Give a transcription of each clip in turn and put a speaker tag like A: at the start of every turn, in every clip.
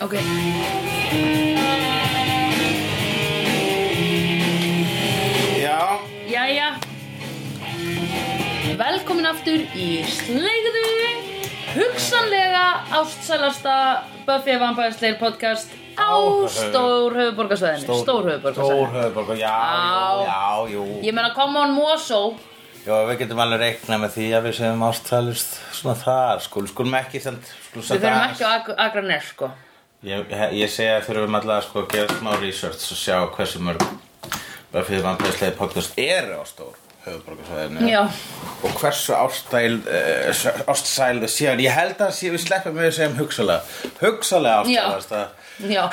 A: Ok
B: Já,
A: Jæja Velkomin aftur í slegðu Hugsanlega ástsælasta Buffy Vampire Slayer podcast Á
B: Á
A: stór höfuborgarsvæðinu Stór
B: Stór
A: höfuborgarsvæðinu
B: höfuborg, já,
A: Á.
B: jú, já, jú
A: Ég meina come on Mosó
B: Já, við getum alveg reiknað með því að við séum ástralist svona þar, sko, skulum ekki samt, skulum
A: Við þurfum ekki á Ag- Akranes sko
B: Ég, ég segja að þurfum allavega sko að gera smá research og sjá hversu mörg Buffy the Vampire Slayer podcast eru á stór höfuborgarsvæðinu
A: Já
B: og hversu ástæl, uh, ástsæl þau séu ég held að sé, við sleppum við að segja um hugsalega hugsalega ástsælast
A: Já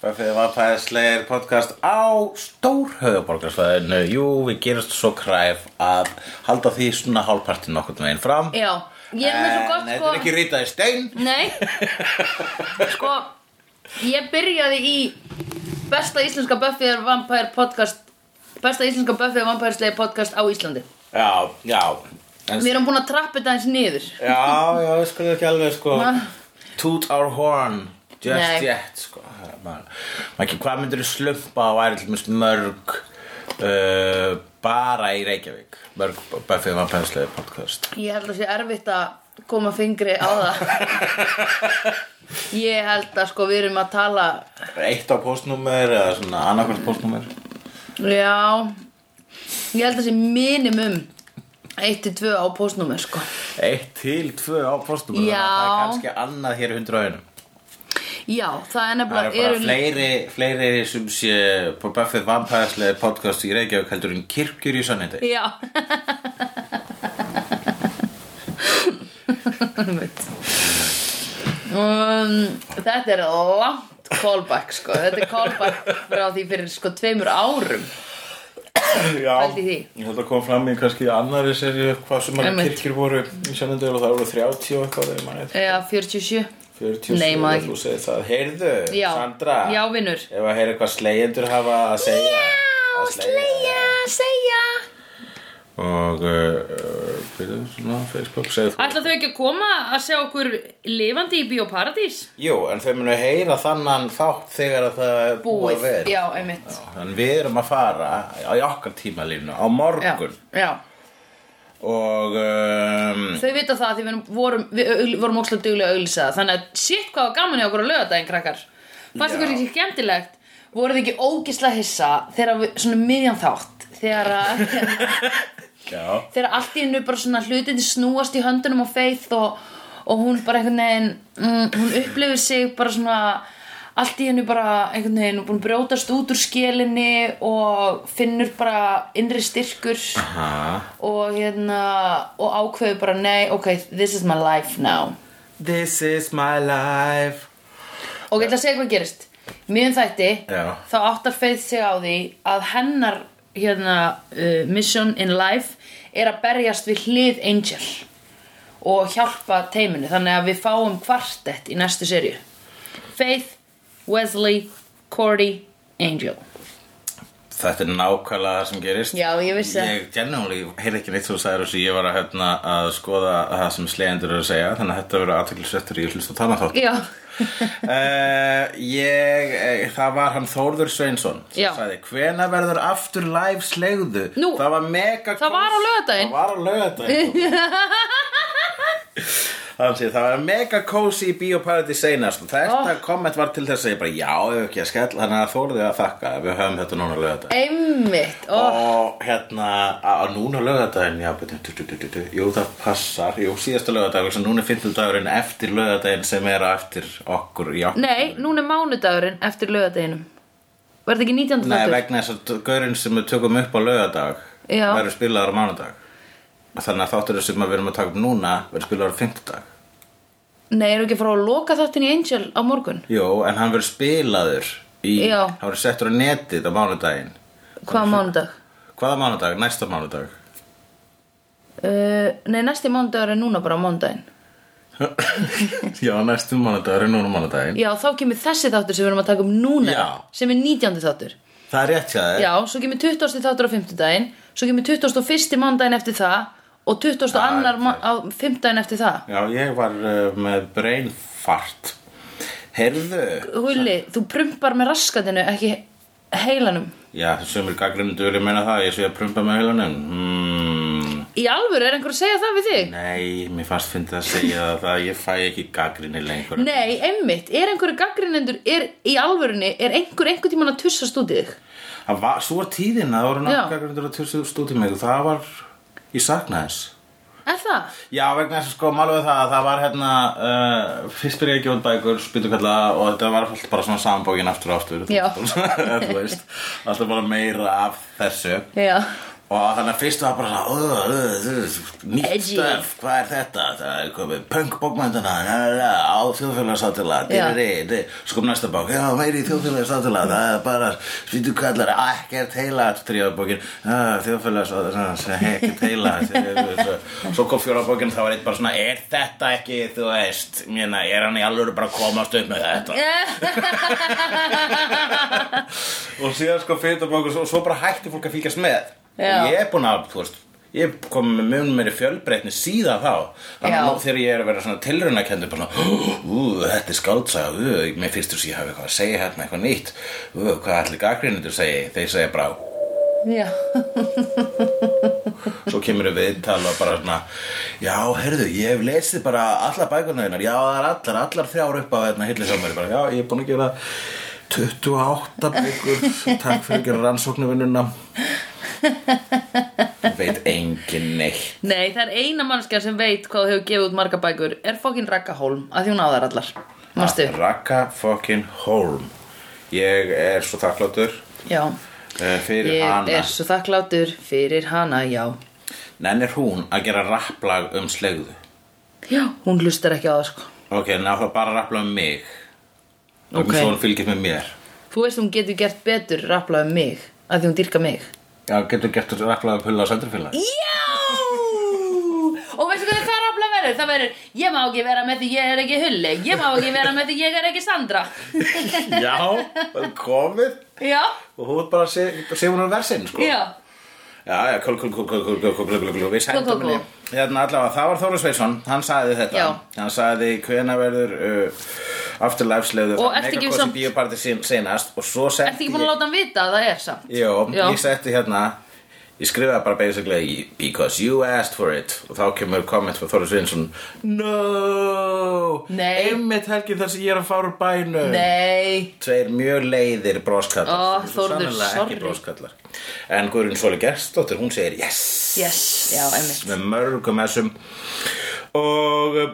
B: Buffy the Vampire Slayer podcast á stór höfuborgarsvæðinu jú, við gerast svo kræf að halda því svona hálfpartin nokkurn veginn fram
A: Já Ég er með svo
B: En
A: gott
B: Eh, þetta
A: sko
B: er ekki rýtað í stein
A: Nei Sko Ég byrjaði í Besta íslenska Buffy er Vampire podcast Besta íslenska Buffy er Vampire Slayer podcast á Íslandi
B: já, já en
A: Við erum búin að trappa þetta eins niður
B: Já, já, við skulum ekki alveg sko
A: Ma-
B: Toot our horn Just
A: Nei.
B: yet sko Ma- Maki, Hvað myndir þú slumpa á væri til mjög mörg uh, bara í Reykjavík mörg Buffy Vampire Slayer podcast
A: Ég held að sé erfitt að koma fingri á það Ég held að sko við erum að tala
B: Eitt á postnúmer eða svona annarkvæmt postnúmer
A: Já Ég held að sé minimum 1-2 á postnúmer sko
B: Eitt til tvö á postnúmer
A: Já.
B: þannig að Það er kannski annað hér í hundra auðinum
A: Já, það er
B: Það
A: nefnilega
B: eru bara
A: eru-
B: fleiri, fleiri sem sé på Buffy Vampire Slayer podcast í Reykjavík heldur en kirkjur í sannindi
A: Já Einmitt. um, Þetta er langt callback sko Þetta er callback frá því fyrir sko tveimur árum
B: Já,
A: Pældi í því.
B: ég held að koma fram í kannski annari serju hvað sem að
A: Einmitt.
B: kirkir voru í sennendölu og það voru 30 og eitthvað þegar maður er
A: Já, 47
B: 47
A: Nei, maður
B: og
A: ekki.
B: þú segir það Heyrðu,
A: Já,
B: Sandra,
A: já vinur
B: ef að heyra hvað slegjendur hafa að segja
A: Já,
B: Að
A: slegja, segja
B: Og, uh, byrðu, svona, Facebook segir þú
A: Ætla þau ekki að koma að sjá okkur lifandi í Bíóparadís?
B: Jú, en þau munu heyra þannan þátt þegar að það er búið að vera
A: já, einmitt
B: Þannig við erum að fara á í okkar tímalínu á
A: Já,
B: morgun
A: já
B: og um,
A: Þau vita það því við erum- vorum, við augl- vorum ókslega duglega að auglýsa það Þannig að shit hvað var gaman í okkur að löga daginn krakkar Fannst
B: Já.
A: ykkur ekki skemmtilegt Voruð þið ekki ógislega hissa Þegar við, svona miðjan þátt Þegar að
B: já,
A: Þegar allt í hennu bara svona hlutið snúast í höndunum á Faith og, og hún bara einhvern veginn mm, Hún upplifir sig bara svona Allt í hennu bara einhvern veginn Búin að brjótast út úr skelinni Og finnur bara innri styrkur
B: ha
A: og hérna og ákveðu bara nei, ok, this is my life now
B: This is my life
A: og ég ætla að segja hvað gerist mjög þætti,
B: Já.
A: þá áttar Faith sig á því að hennar hérna, uh, mission in life er að berjast við hlið Angel og hjálpa teiminu þannig að við fáum kvartett í næstu serju Faith, Wesley, Cordy, Angel
B: Þetta er nákvæmlega það sem gerist
A: Já, ég vissi það.
B: Ég generally heyrði ekki neitt þú sagðir þessu Ég var að, hérna, að skoða það sem slegjendur eru að segja Þannig að þetta verður aðteklisvettur í hlust og þannig þátt
A: Já,
B: uh, Ég, eh, það var hann Þórður Sveinsson sem
A: Já.
B: sagði, Hvena verður aftur live slegðu?
A: Nú,
B: það var mega
A: það var á laugardaginn.
B: Það var á laugardaginn Þannig sé, það var mega cozy í Bíóparadi seinast og þetta komment var til þess að ég bara já, ef ekki að skella, þannig að þórði að þakka ef við höfum þetta núna lögða
A: einmitt oh.
B: Og hérna, á á núna lögadaginn, já, betur, du, du, du, du, du, jú, það passar, jú, síðasta lögadaginn, sem núna er fimmtudagurinn eftir lögadaginn sem er á eftir okkur í okkur.
A: Nei, núna er mánudagurinn eftir laugardeginum Var þetta ekki 19.
B: Nei,
A: þáttur?
B: vegna þess að gaurinn sem við tökum upp á lögadag
A: Já.
B: verður spilaður á mánudag. Þannig að þátturinn sem við erum að taka upp núna verður spilaður á fimmtudag.
A: Nei, erum við ekki að fara að loka þáttin í Angel á morgun?
B: Jú, en hann verður spilaður í,
A: Já.
B: hann verður settur á netið á mánudaginn.
A: Hvaða mánudag?
B: Hvaða mánudag? Næsta mánudag.
A: Uh, nei, næsti mánudagur er núna bara á mánudaginn
B: já, næstu mánudagur er núna mánudaginn.
A: Já, þá kemur þessi þáttur sem við erum að taka um núna
B: Já. Eh.
A: sem er 19. þáttur
B: Það er rétt hjá þér.
A: Já, svo kemur 20. þáttur á 5. daginn svo kemur 21. mánudaginn eftir það og 22.
B: Ah,
A: annar
B: Já,
A: á 5. daginn eftir það
B: eh, Já, ég var uh, með brain fart Heyrðu,
A: Hulli,
B: Eh.
A: þú prumpar með raskatinu ekki heilanum
B: já, sömur gaggrindur ég meina það, ég sé að prumpa með heilanum hmm.
A: Í alvöru, er einhver að segja það við þig?
B: Nei, mér fannst fyndið að segja það að ég fæ ekki gaggrinni lengur
A: Nei, einmitt, er einhverju gaggrinendur er, í alvörunni, er einhver einhver tímann að tussast út í þig?
B: Það var, svo var tíðin að það voru
A: Já.
B: náttúrulega að tjóðsum stúti mig og það var, ég saknaði þess
A: Er það?
B: Já, vegna þess að sko, málum við það að það var hérna, uh, fyrst byrjaði ekki út bækur, spýtukalla og þetta var alltaf bara svona sambókin aftur og aftur
A: Já.
B: Þú veist, alltaf bara meira af þessu
A: Já,
B: Og þannig að fyrst var bara svona, "Ugh, ugh, ugh, nýtt
A: Edgy.
B: stöf, hvað er þetta? Það er komið punk-bókmændina á þjóðfélagsáttilag,
A: Já.
B: svo kom næsta bók, já, meiri í þjóðfélagsáttilag, það er bara svítu kallar, "Ah, ekkert heila, þrjóða bókin, "Ah, þjóðfélagsáttilag, ekkert heila, svo- svo kom fjóra bókin, það var eitt bara svona, er þetta ekki, þú veist, mérna, er hann í alvöru bara að komast upp með þetta? og síðan sko fyrta bók og svo, svo bara hætti fólk að fylgjast með
A: Já.
B: og ég er búin að, þú veist ég er komin með mun meiri fjölbreytni síðan þá þannig
A: Já.
B: að nú þegar ég er að vera svona tilraunakendur bara, svona, ú, þetta er skáldsaga ú, mér fyrst þú sé ég hafi eitthvað að segja hérna eitthvað nýtt ú, hvað allir gaggrinundur segi þeir segja bara, "Ú."
A: já,
B: svo kemur við viðtal og bara svona, já, herðu ég hef lesið bara allar bækurna þeinar já, það er allar, allar þrjár upp á hérna hillisamari, bara, já, ég er búin að gera 28 bækur takk fyrir að gera rannsóknuvinnuna veit engin neitt
A: nei, það er eina mannskja sem veit hvað þú hefur gefið út marga bækur er fokkin Ragga Holm, að því hún áðar allar
B: Ah,
A: Mastu?
B: Raka fucking Holm ég er svo þakkláttur
A: Já,
B: eh, fyrir
A: ég
B: hana
A: er svo þakklátur fyrir hana, já
B: nennir hún að gera rapplag um slegðu
A: Já, hún hlustar ekki á það, sko
B: ok, náttúrulega bara rapplag um mig og
A: Ok.
B: okay. svo hún fylgir með mér
A: Þú veist hún getur gert betur rapplega um mig að því hún dýrka mig
B: já, getur gert rapplag um hulla og sendurfélag
A: Já! Og veistu hvernig það rapplega verður? Það verður, ég má ekki vera með því ég er ekki hulli Ég má ekki vera með því ég er ekki Sandra
B: já, það er komið
A: Já,
B: og hún bara sé, sé hún á versin sko.
A: já
B: Já, já, kól, kól, kól, kól, kól, kól, kól, kól, kól, kól, við
A: Kól,
B: sendum
A: kól,
B: henni Hérna allavega, það var Þóru Sveinsson, hann sagði þetta
A: Já.
B: Hann sagði hvena verður uh, afturlæfsleður
A: Og ertu ekki samt-
B: Bíóparti sín, senast og svo
A: Ertu
B: setti
A: ekki búin að láta hann vita að það er samt?
B: ég Jó,
A: Já.
B: ég setti hérna Ég skrifaði bara basically í Because you asked for it Og þá kemur komment frá Þóru Sveinsson No
A: Nei.
B: Einmitt helgi þar sem ég er að fara úr bænum
A: Nei
B: Tveir mjög leiðir broskallar
A: Ó,
B: Svo
A: Þórður,
B: sannarlega
A: sorry.
B: ekki broskallar En Guðrún Sóli Gerstóttir, hún segir yes
A: Yes, já, einmitt
B: með mörgum þessum og uh,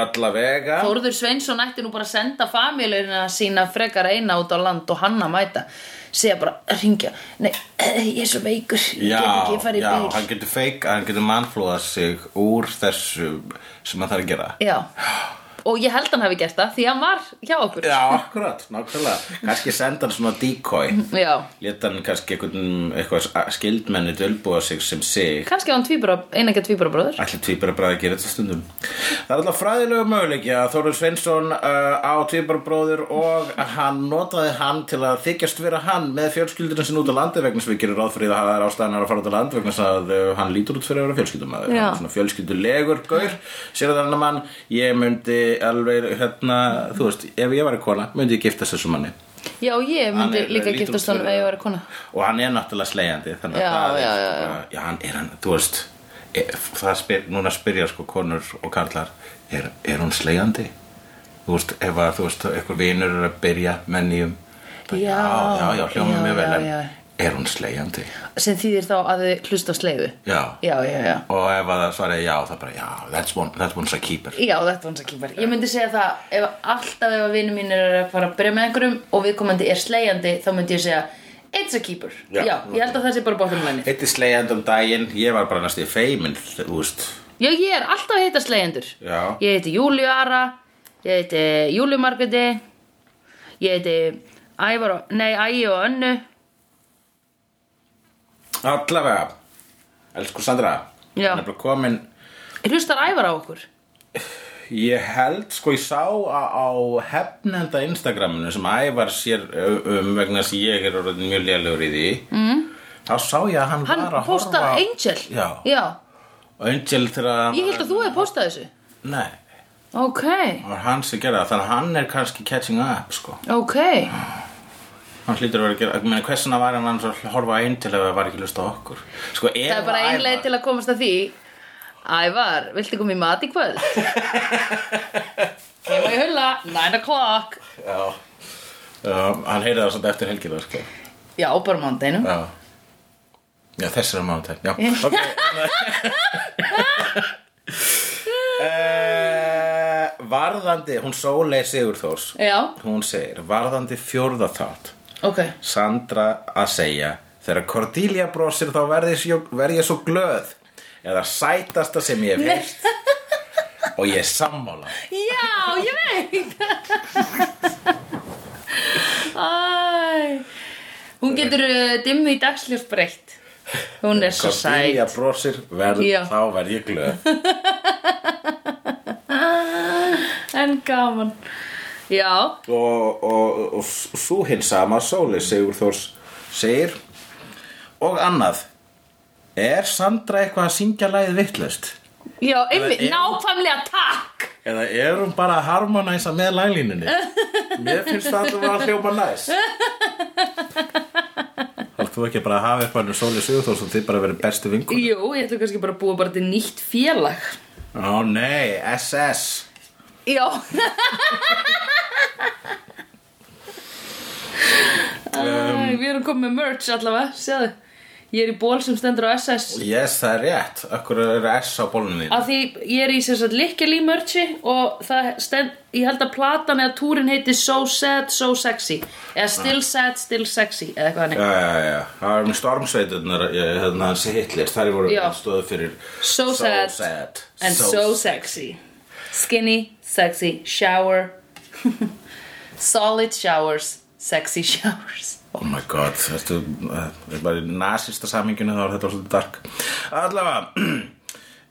B: allavega
A: Þórður Sveinsson ætti nú bara að senda famílina sína frekar eina út á land og hann að mæta segja bara, ringja Nei, eh, ég er svo veikur, ég
B: já,
A: get ekki farið
B: já,
A: í bíl
B: hann getur feik hann getur mannflóða sig úr þessu sem hann þarf að gera
A: Já, og ég held hann hafi gert það því hann var hjá okkur
B: já, akkurat, nákvæmlega kannski senda hann svona decoy
A: Já.
B: leta hann kannski einhvern eitthvað skildmenni dölbúa sig sem sig
A: kannski á hann tvíbura, einægja tvíburabróður
B: Ætli tvíbarabræði að gera þetta stundum Það er alltaf fræðilegu möguleiki að Þóru Sveinsson uh, á tvíbarabróður og hann notaði hann til að þykjast vera hann með fjölskyldurinn sinni út á landi vegna sem við gerum ráð fyrir að það er ástæðan að fara út á land vegna þess að uh, hann lítur út fyrir að vera fjölskyldumæður
A: Já.
B: Hann er svona fjölskyldulegur gaur sér að þannig mann ég myndi alveg hérna þú veist ef ég var í kona myndi ég giftast þessu manni
A: Já, ég myndi
B: Hann er-
A: líka
B: lítur út
A: giftast honum
B: fyrir-
A: ef ég væri kona
B: og hann er náttúrulega slegjandi þannig
A: Já,
B: að það er
A: já, já, já.
B: bara- já, hann er hann, þú veist er, það spyr, núna spyrja sko konur og karlar er, er hún slegjandi? þú veist, ef að þú veist eitthvað vinur er að byrja með nýjum bara,
A: Já,
B: já, já, hljóma
A: já,
B: mjög vel
A: já,
B: en
A: já.
B: er hún slegjandi?
A: sem þýðir þá að þau hlusta á sleiðu
B: já,
A: Já, já, já
B: og ef að það svarið já það bara, já, that's one, that's one's a keeper
A: Já, þetta var hans að kýmver Ég myndi segja það, ef alltaf ef að vinur mín er að fara að byrja með einhverjum og viðkomandi er slegjandi þá myndi ég segja It's a keeper
B: Já,
A: ég held að það sé bara bóttum læni
B: Eitt er slegjandi um daginn, ég var bara næstu feimin, þú veist
A: Já, ég er alltaf að heita slegjandur
B: Já.
A: Ég heiti Júlíu Ara Ég heiti Júlíu Margreti Ég heiti Ævar og, nei, Ægi og Önnu
B: Allavega, elsku Sandra
A: Já.
B: Hún er bara komin
A: Hlustar Ævar á okkur?
B: Ég held, sko, ég sá á, á hefnenda Instagraminu sem ævar sér ö- um vegna þess að ég er orðin mjög lélugur í því mm. þá sá ég að hann,
A: Hann
B: var að
A: postar
B: horfa
A: Angel
B: Já,
A: Já,
B: Angel þegar
A: Ég held að þú hefði postað þessu
B: Nei,
A: ok,
B: Það var hann sem gerði það, þannig að hann er kannski catching up, sko.
A: ok
B: Hann hlýtur að vera að gera, ég meina, hversuna var hann annars að horfa einn til ef það var ekki hlust á okkur? Sko, ef
A: Það er bara ein leið til að komast að því Ævar, viltu koma í mat í kvöld? Heima í hulla, 9 o'clock
B: Já, Já, hann heyrði það samt eftir helgina, sko.
A: Já, bara mándeinum
B: Já, já þessir er mánutæk Já, hérna. ok uh, Varðandi, hún Sólei Sigurþórs
A: Já,
B: Hún segir, varðandi fjórða þátt
A: ok
B: Sandra að segja Þegar Cordelia brosir þá verð ég svo- verð ég svo glöð Eða sætasta sem ég hef heyrst Og ég er sammála
A: Já, ég veit Æ Hún getur uh, dimmu í dagsljós breytt Hún er svo sæt
B: Cordelia brosir, verð,
A: Já.
B: þá verð ég glöð
A: En gaman Já,
B: og, og, og svo hinn sama sóli Sigurþórs segir og annað er Sandra eitthvað að syngja lagið vittlust
A: já, einmitt,
B: er-
A: nákvæmlega takk
B: eða er hún bara að harmonæsa með laglínunni mér finnst það alltaf að hljóma næs Þarf þú ekki bara að hafa eitthvað um sóli Sigurþórs og þið bara verið bestu vingur
A: Jú, ég ætla kannski bara að búa bara til nýtt félag
B: Ó nei, SS
A: Já Æ, Við erum komið með merch allavega, séðu Ég er í ból sem stendur á SS
B: Yes, það er rétt, akkur er S á bólunum þín
A: Af því ég er í sem sagt likkil í merchi og það stend, ég held að platan eða túrin heiti So Sad, So Sexy eða Still Sad, Still Sexy eða eitthvað hannig
B: Já, já, já, það var með stormsveiturnar, eh, hérna, hans Hitler, þær voru
A: Já.
B: stóðu fyrir
A: So sad. And so, sexy. Skinny, sexy, shower. Solid showers, sexy showers.
B: Oh my god, þetta er bara í nasista saminginu þá er þetta svolítið dark Allavega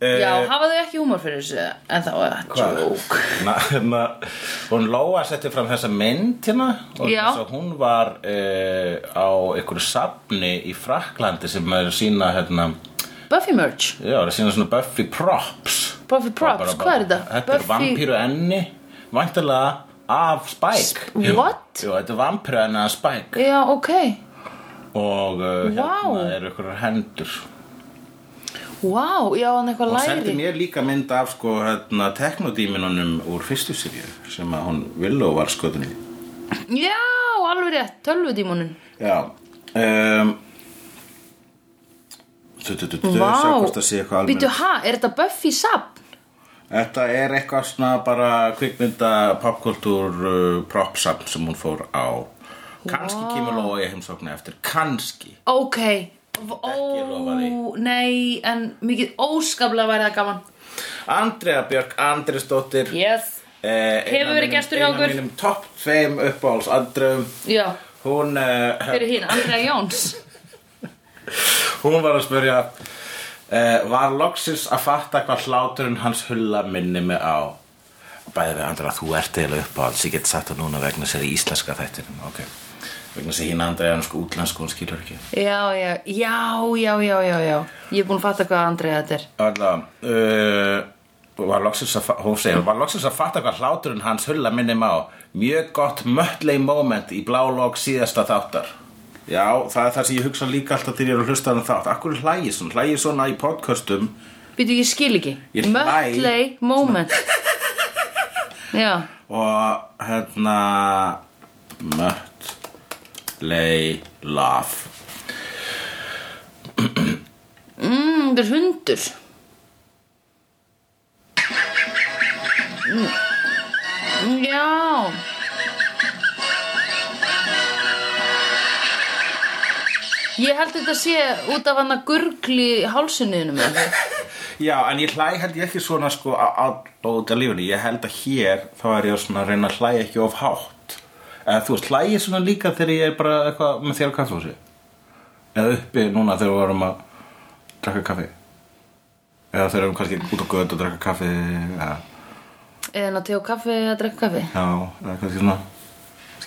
A: Já,
B: Eh,
A: hafa þau ekki húmor fyrir þessu? En þá er það joke.
B: Na, na, hún Lóa setti fram þessa mynd hérna og
A: Já.
B: svo hún var uh, á einhverju safni í Fraklandi sem er að sína hérna,
A: Buffy merch.
B: já, er að sína svona Buffy props
A: Buffy props, hvað er þetta?
B: Þetta er vampíru enni Væntalega af Spike
A: Sp- what?
B: Jú, þetta er vampíru enni af Spike
A: Já, ok.
B: Og uh, hérna
A: Vá.
B: eru ykkur hendur
A: Wow, já, hann eitthvað
B: Hún
A: læri.
B: sendi mér líka mynd af sko hérna teknodíminunum úr fyrstu sirju sem að hún Villó var skotin í
A: Já, alveg rétt, tölvudímunin.
B: Já um, Þú, þú, þú, þú, sjá
A: Vá,
B: hvort það sé eitthvað almennt.
A: býtu, ha, er þetta Buffy sap?
B: Þetta er eitthvað svona bara kvikmynda popkultúr uh, propsapn sem hún fór á Kanski kemur Lóa í heimsóknu eftir Kanski
A: Ok,
B: lofa því.
A: ó, nei, en mikið óskaplega væri það gaman.
B: Andrea Björk, Andrisdóttir
A: Yes.
B: eh, eina
A: Hefur verið
B: mínum-
A: gestur hjá okkur.
B: Eina mínum topp tveim uppáhalds andrum
A: Já,
B: Hún eh,
A: hver er hinn, Andrea Jóns.
B: Hún var að spyrja uh, Var loksins að fatta hvað hláturinn hans hulla minni mig á Bæði við Andra, þú ert eiginlega uppáhalds Ég get sagt það núna vegna sér í íslenska þættinum Ok Vegna sér hín Andra er hann sko útlensku, hún skilur ekki
A: Já, já, já, já, já, já, já. Ég er búin að fatta hvað Andrið þetta er.
B: Alla uh, Var loksins að fa- Hún segir Var loksins að fatta hvað hláturinn hans hulla minni mig á Mjög gott mötlei moment í blálog síðasta þáttar Já, það er það sem ég hugsa líka alltaf til ég er að hlusta hann þátt Akkur hlægir svona, hlægir svona í podcastum
A: Býtu, ég skil ekki.
B: Ég hlæ.
A: Mötley moment. já,
B: og hérna mött lei laf
A: mm, þetta er hundur. Mm. Já. Ég held þetta sé út af hann að gurgli hálsunniðinu með það.
B: já en ég hlæ held ég ekki svona sko á- á- út af lífunni, ég held að hér þá er ég svona að reyna að hlæ ekki of hátt eða þú veist, hlæ ég svona líka þegar ég er bara eitthvað með þér á kaffhúsi eða uppi núna þegar við vorum að drakka kaffi eða þegar við erum kannski út á göð og drakka kaffi eða
A: Eða ná til á kaffi að drekka kaffi.
B: já, eða kannski svona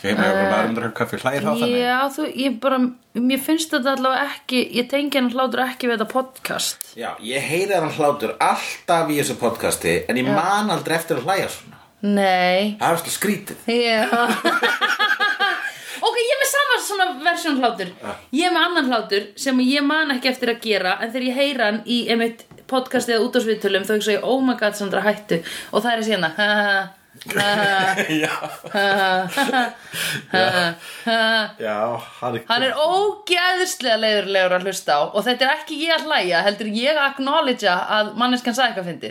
B: Skal ég með eitthvað varum drakka kaffi hlægir þá þannig?
A: Já, þú, ég bara, mér finnst þetta allavega ekki, ég tengi hann hlátur ekki við þetta podcast.
B: Já, ég heyri hann hlátur alltaf í þessu podcasti en ég man aldrei eftir að hlæja svona.
A: Nei.
B: Það er slið skrítið.
A: Já. ok, ég er með sama svona versjón hlátur. Ég er með annan hlátur sem ég man ekki eftir að gera en þegar ég heyra hann í einmitt podcast eða útásviðtölum þá hugsa ég, oh my god, Sandra, hættu. Og það er síðan að, hérna, ha, ha,
B: Já,
A: ha, ha, ha, ha, ha, ha.
B: já, hann er...
A: Hann er ógeðslega leiðurlegur að hlusta á og þetta er ekki ég að hlæja, heldur ég að acknowledgea að manneskan sagði eitthvað fyndi.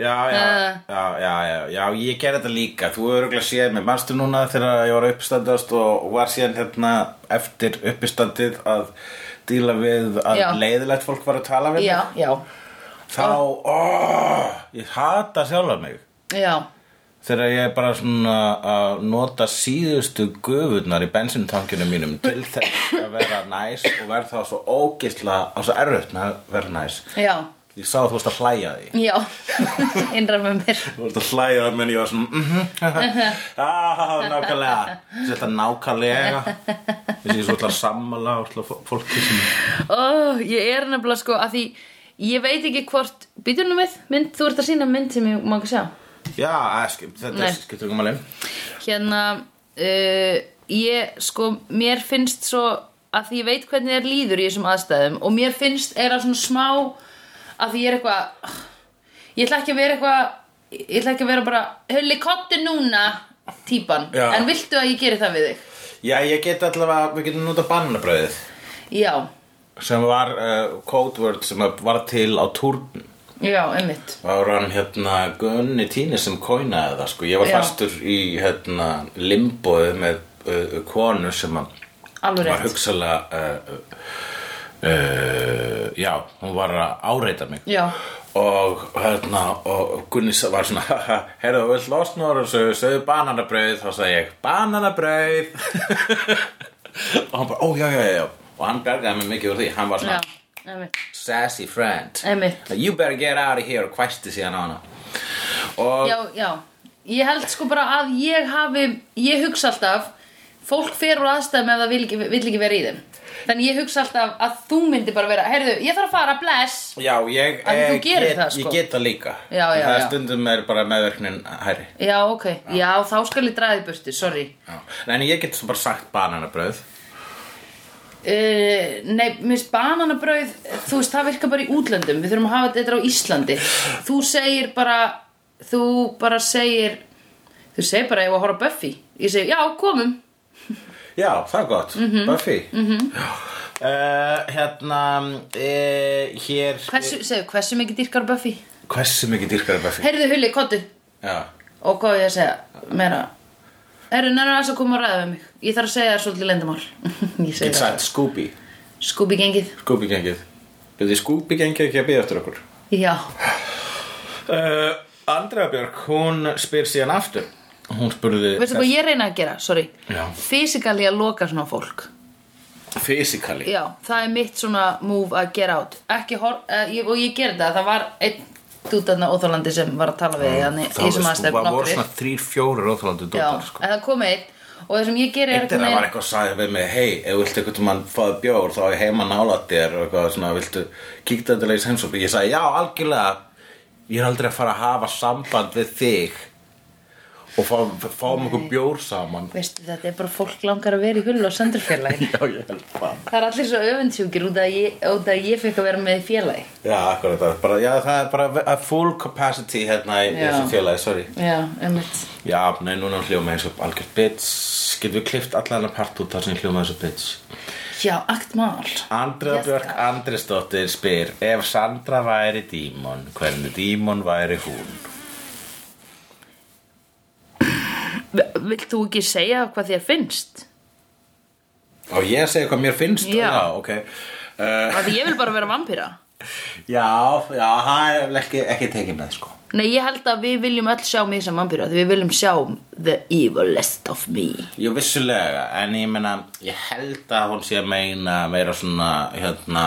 B: Já,
A: Eh.
B: já, já, já, já, já, ég gerði þetta líka Þú hefur örgulega séð mig, manstu núna þegar ég var að uppstandast og var síðan hérna eftir uppistandið að díla við að
A: Já.
B: leiðilegt fólk var að tala við
A: Já,
B: mig
A: já,
B: Þá, ó, ég hata sjálfa mig
A: já,
B: Þegar ég er bara svona að nota síðustu gufunar í bensintankinum mínum til þess að vera næs og verð þá svo ógisla á svo erfitt með að vera næs
A: já,
B: Ég sá að þú veist að hlæja því
A: já, innrar með mér.
B: Þú ert að hlæða menn ég var svona mhm, ah, nákvæmlega Þetta nákvæmlega Þessi ég svo ætla að sammála og ætla að fólki sem
A: Ó, Oh, ég er nefnilega sko að því, ég veit ekki hvort, býtur nú með mynd, þú ert að sína mynd sem ég má ekki sjá.
B: Já, að, skip, þetta
A: Nei.
B: er skiptur ekki máli
A: Hérna, uh, ég sko, mér finnst svo að því ég veit hvernig þér líður í þessum aðstæðum og mér finnst er að svona smá að því ég er eitthvað ah, ég ætla ekki að vera eitthvað ég ætla ekki að vera bara, hulli kottu núna típan,
B: Já.
A: en viltu að ég geri það við þig?
B: Já, ég get allavega, við getum nota bananabröðið
A: Já,
B: sem var uh, code word sem var til á túrn
A: já, einmitt
B: Það var hann hérna Gunni Tíni sem kóinaði það sko Ég var
A: Já.
B: fastur í hérna limboðu með uh, konu sem að
A: alveg
B: var
A: rétt,
B: hugsalega uh, uh, já, hún var að áreita mig
A: já
B: og hérna og Gunni sa- var svona herðu, vill losna úr þessu, sögðu bananabrauð þá sagði ég, bananabrauð og hann bara, ó já, já, já, já og hann bergaði mig mikið úr því, hann var svona
A: já, einmitt,
B: sassy friend
A: einmitt.
B: you better get out of here og kvæsti síðan á hana og
A: Já, já, ég held sko bara að ég hafi, ég hugsa alltaf fólk fer úr aðstæðum ef það vil ekki, vill ekki vera í þeim þannig ég hugsa alltaf að þú myndi bara vera heyrðu, ég þarf að fara, bless
B: já, ég,
A: En þú
B: eh,
A: gerir
B: get,
A: það, sko.
B: ég get það líka
A: Já, já,
B: það
A: já.
B: stundum er bara meðverknin hærri
A: Já, ok, já, þá skal ég draga þig burtu, sorry
B: Já. En ég get bara sagt bananabröð
A: uh, Nei, minnst bananabrauð þú veist, það virkar bara í útlöndum við þurfum að hafa þetta á Íslandi þú segir bara, þú bara segir þú segir bara, ég var að horfa á Buffy ég segi, já, komum
B: Já, það er gott,
A: Mhm.
B: Buffy mm -hmm. Hérna uh, Hér
A: hversu, segir, hversu mikið dýrkar Buffy?
B: Hversu mikið dýrkar er Buffy?
A: Heyrðu, Hulli, kottu
B: Já,
A: Og hvað á ég að segja? Meira Herru, nærðu þess að koma að ræða við mig Ég þarf að segja þér svolítið lendamál Ég segi
B: exakt, Scooby
A: það Scooby gengið
B: Scooby gengið Byrði Scooby gengið ekki að byggja eftir okkur
A: Já
B: uh, Andrea Björk, hún spyr síðan aftur Hún spurði
A: Veistu hvað ég reyna að gera? Sorry
B: Já.
A: Fysikali að loka svona fólk
B: Fysikali
A: Já, það er mitt svona move að gera át Ekki hor... Uh, ég, og ég gerði það Það var einn dútarna óþólandi sem var að tala
B: Mm,
A: við Þannig í þessum aðstæðum
B: Það voru
A: nokkrir.
B: svona þrír, fjórir óþjólandu
A: Já,
B: dóttar sko.
A: en það kom einn Og það sem ég geri er
B: Þetta
A: einhvern
B: það var
A: veginn-
B: eitthvað að sagði við mig Hei, ef þú vilt eitthvað mann fáði bjór þá er heima nálætt þér og eitthvað svona viltu kíkta þetta leiðis heimsókn Ég sagði já, algjörlega Ég er aldrei að fara að hafa samband við þig og fá, fáum okkur bjór saman
A: Veistu, þetta er bara fólk langar að vera í hullu á sandurfélagin
B: Já, ég held það
A: Það er allir svo öfundsjúkir út af að ég, út af að ég fekk að vera með í félagi
B: Já, akkurat, það er bara, já, það er bara að full capacity hérna í
A: Já.
B: þessu félagi, sorry
A: Já, einmitt
B: Já, nei, núna hljóma eins og algjört bits Getum við klift allan að part út þar sem ég hljóma eins og bits
A: Já, akt mál
B: Andra
A: Yes,
B: Björk Andrisdóttir spyr Ef Sandra væri dímon, hvernig dímon væri hún?
A: Vilt þú ekki segja hvað þér finnst?
B: Og ég segi hvað mér finnst
A: Já.
B: Já, ok uh,
A: Af Því ég vil bara vera vampýra
B: Já, já, það er ekki, ekki tekið með sko
A: Nei, ég held að við viljum öll sjá mig sem vampýra Því við viljum sjá the evilest of me
B: Jú, vissulega, en ég meina Ég held að hún sé að meina meira svona, hérna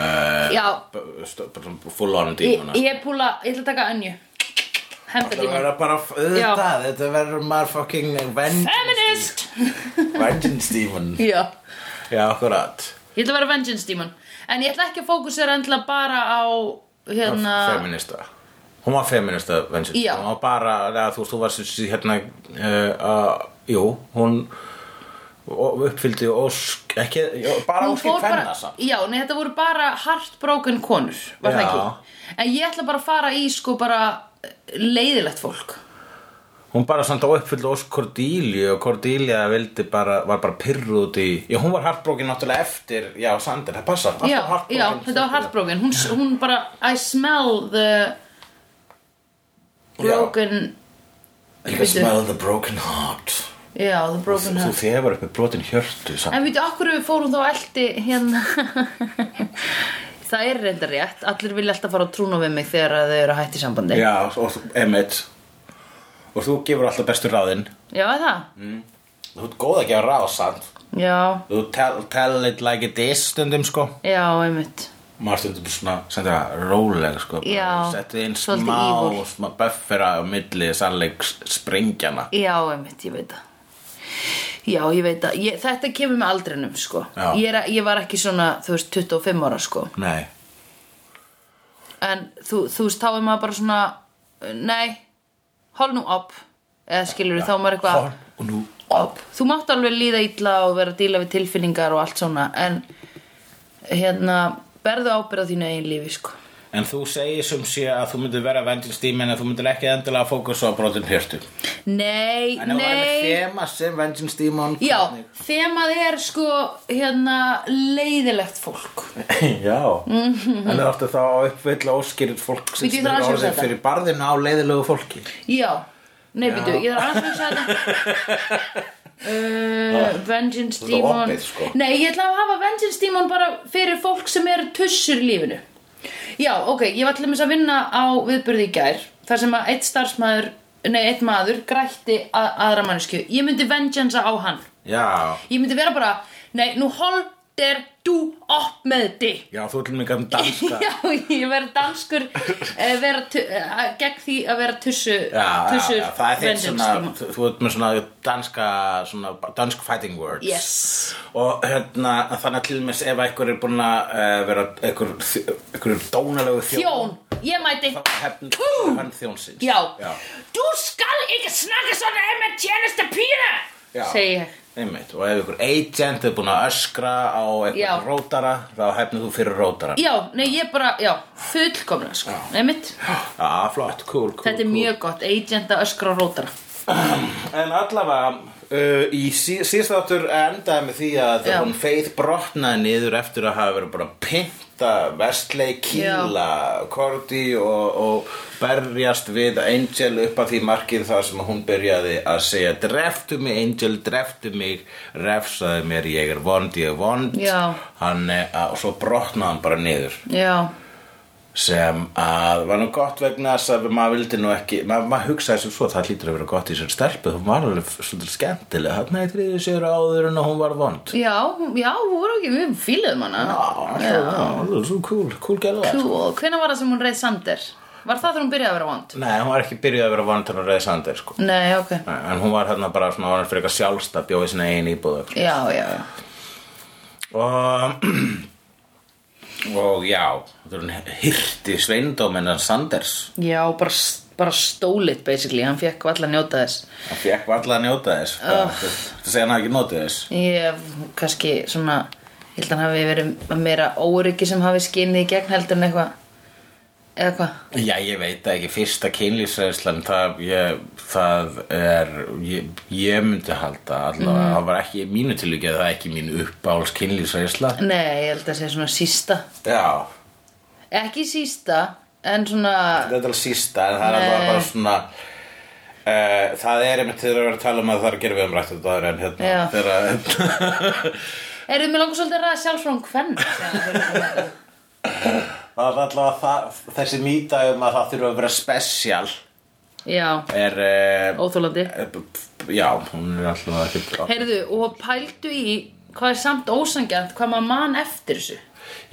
A: Já,
B: b- st- bara svona full on
A: Eh, ég,
B: dímona
A: ég púla, ég ætla að taka önju
B: Það
A: hefndadímon
B: verður bara, þetta, þetta verður maður fucking vengeance
A: Feminist
B: Vengeance demon
A: Já,
B: Já, akkurat
A: ég ætla að vera vengeance dímon En ég ætla ekki að fókusera endla bara á hérna
B: Feminista Hún var feminista vengeance
A: Já.
B: Hún var bara, eða, þú veist, þú varst þessi, hérna uh, uh, Jú, hún og uppfyldi ósk ekki, já, bara
A: Hún
B: óskir
A: fór bara-
B: kvenna samt
A: Já, nei, þetta voru bara heartbroken konur Var það
B: Já.
A: ekki En ég ætla bara að fara í sko bara eh, leiðilegt fólk
B: Hún bara samt á uppfyllt Ósk Cordelia og Cordelia vildi bara, var bara pyrruð út í Já, hún var hartbrókin náttúrulega eftir, já, Sander, það passa alltaf
A: já,
B: heartbroken.
A: já, þetta var heartbroken hún, hún bara, I smell the broken
B: You
A: Bíddu.
B: can smell the broken heart
A: já, the broken
B: Þú
A: heart
B: þefur upp með brotin hjörtu samt
A: en veitu, okkur við fórum þá eldi hérna það er reyndar rétt, allir vilja alltaf fara að trúna við mig þegar að þau eru að hætti sambandi
B: Já, og þú, emitt Og þú gefur alltaf bestu ráðin
A: já er það,
B: Þú ert góð að gefa ráð, sant
A: já,
B: Þú tell, tell it like it is stundum, sko
A: já, einmitt
B: Maður stundum svona, sendur það róleg, sko bara
A: Já,
B: Settu inn
A: svolítið
B: smá,
A: evil.
B: smá buffera á milli sannleik springjana
A: já, einmitt, ég veit það Já, ég veit að, ég, þetta kemur með aldrinum, sko
B: Já.
A: ég, er, að- ég var ekki svona, þú veist, 25 ára, sko
B: Nei
A: en þú, þú veist, þá er maður bara svona nei, hold nú upp eða skilur þá er maður eitthvað
B: Horn Og nú
A: upp, þú mátt alveg líða illa og vera að díla við tilfinningar og allt svona en hérna, berðu ábyrð á þínu eigin lífi, sko
B: En þú segir sem sé að þú myndir vera vengeance demon en þú myndir ekki endilega fókusa á brotin hjörtu
A: nei,
B: En ef þú verður með
A: nei
B: þema sem vengeance demon
A: já,
B: hvernig-
A: þemað er sko hérna, leiðilegt fólk
B: Já,
A: Mhm.
B: en það ertu þá að uppfylla óskýrð fólk sem
A: Bíddu, ég þarf
B: er
A: aðeins að hugsa
B: orðið
A: þetta.
B: fyrir barðinu á leiðilegu fólki
A: já, nei, býtu, ég þarf aðeins að hugsa þetta Uh, Vengeance
B: Ah, Þetta er
A: Demon
B: opið, sko.
A: Nei, ég ætla að hafa Vengeance Demon bara fyrir fólk sem eru tussur í lífinu Já, ok, ég var til dæmis að vinna á viðburði í gær þar sem að eitt starfsmæður nei, eitt maður grætti að, aðra mannesku ég myndi vengeance á hann
B: Já,
A: ég myndi vera bara, nei, nú holder þú upp með þig
B: já, þú ætlum mig að danska
A: Já, ég verð danskur eh, vera, tu- eh, gegn því að vera tussu
B: Já, já,
A: tussur
B: já, það er þitt
A: Vengeance
B: svona,
A: Demon.
B: þú, þú ert með svona danska, svona dansk fighting words
A: Yes
B: Og hérna, þannig að til dæmis ef einhver er búinn að uh, vera einhver, einhver er dónalegu
A: Þjón, ég mæti
B: Þá hefn hann þjónsins
A: Já.
B: Já,
A: Þú skal ekki snakka svona um með tjenesta pína
B: Já.
A: Segir ég
B: einmitt Og ef einhver agent er búinn að öskra á
A: Já.
B: einhver rótara Þá hefnir þú fyrir rótara
A: Já, nei ég bara, já, fullkomna sko Nei mitt,
B: Já, flott, cool, cool
A: þetta er mjög gott Agent að öskra og rótara
B: En allavega, uh, í sí, síðst áttur endaði með því að
A: Já.
B: hún Faith brotnaði niður eftir að hafa verið bara að pynta Vestley, Kíla, Korti og, og berjast við Angel upp að því markið þar sem hún byrjaði að segja Dreftu mig Angel, dreftu mig, refsaði mér, ég er vond, ég er vond
A: Já.
B: Hann, eh, að- og svo brotnaði hann bara niður
A: Já,
B: sem að var nú gott vegna þess að maður vildi nú ekki maður, maður hugsaði sem svo, það hlýtur að vera gott í sér stelpu hún var alveg svolítið skemmtilega hann er þriðið sér áður en að hún var vond já,
A: já, já, hún voru ekki, við fíluðum hana
B: já, já, alveg svo cool, cool gæla
A: Þú, hvenær var það sem hún reið Sander? Var það þegar hún byrjaði að vera vond?
B: nei, hún var ekki byrjuð að vera vond hann að reyða sandir sko.
A: Nei, ok
B: Nei, en hún var hérna bara svona, hún var fyrir eitthvað sjálfstað bjóði sinna einu íbúð og eitthvað.
A: Já, já, já
B: og og já, þetta er hún hirti sveindóminan Sanders
A: Já, bara, bara stólit basically, hann fekk allan njóta þess
B: hann fekk varla að njóta þess oh. þetta segja hann hafi ekki notið þess
A: Ég, kannski svona ég held að hann hafi verið meira óryggi sem hafi skinnið í gegn heldur en eitthvað eða hvað
B: Já, ég veit það ekki, fyrsta kynlýsræðislan, það, ég, það er, ég, ég myndi halda allavega, það var ekki, í mínu tilvíkja, það er ekki mín uppáls kynlýsræðisla.
A: Nei, ég held að segja svona sísta
B: Já,
A: ekki sísta, en svona
B: þetta er alveg sísta, en það er alveg bara svona, uh, það er einmitt þegar við erum að tala um að það er að gera við um rættu þetta aðra en hérna,
A: Já.
B: þegar,
A: eruðu mig langar svolítið að ræða sjálf frá um hún hvern
B: það er allavega það, þessi mýta um að það þurfa að vera spesial
A: Já,
B: er, uh,
A: óþólandi
B: já, hún er allavega ekki,
A: Heyrðu, og pældu í hvað er samt ósangjant, hvað maður man eftir þessu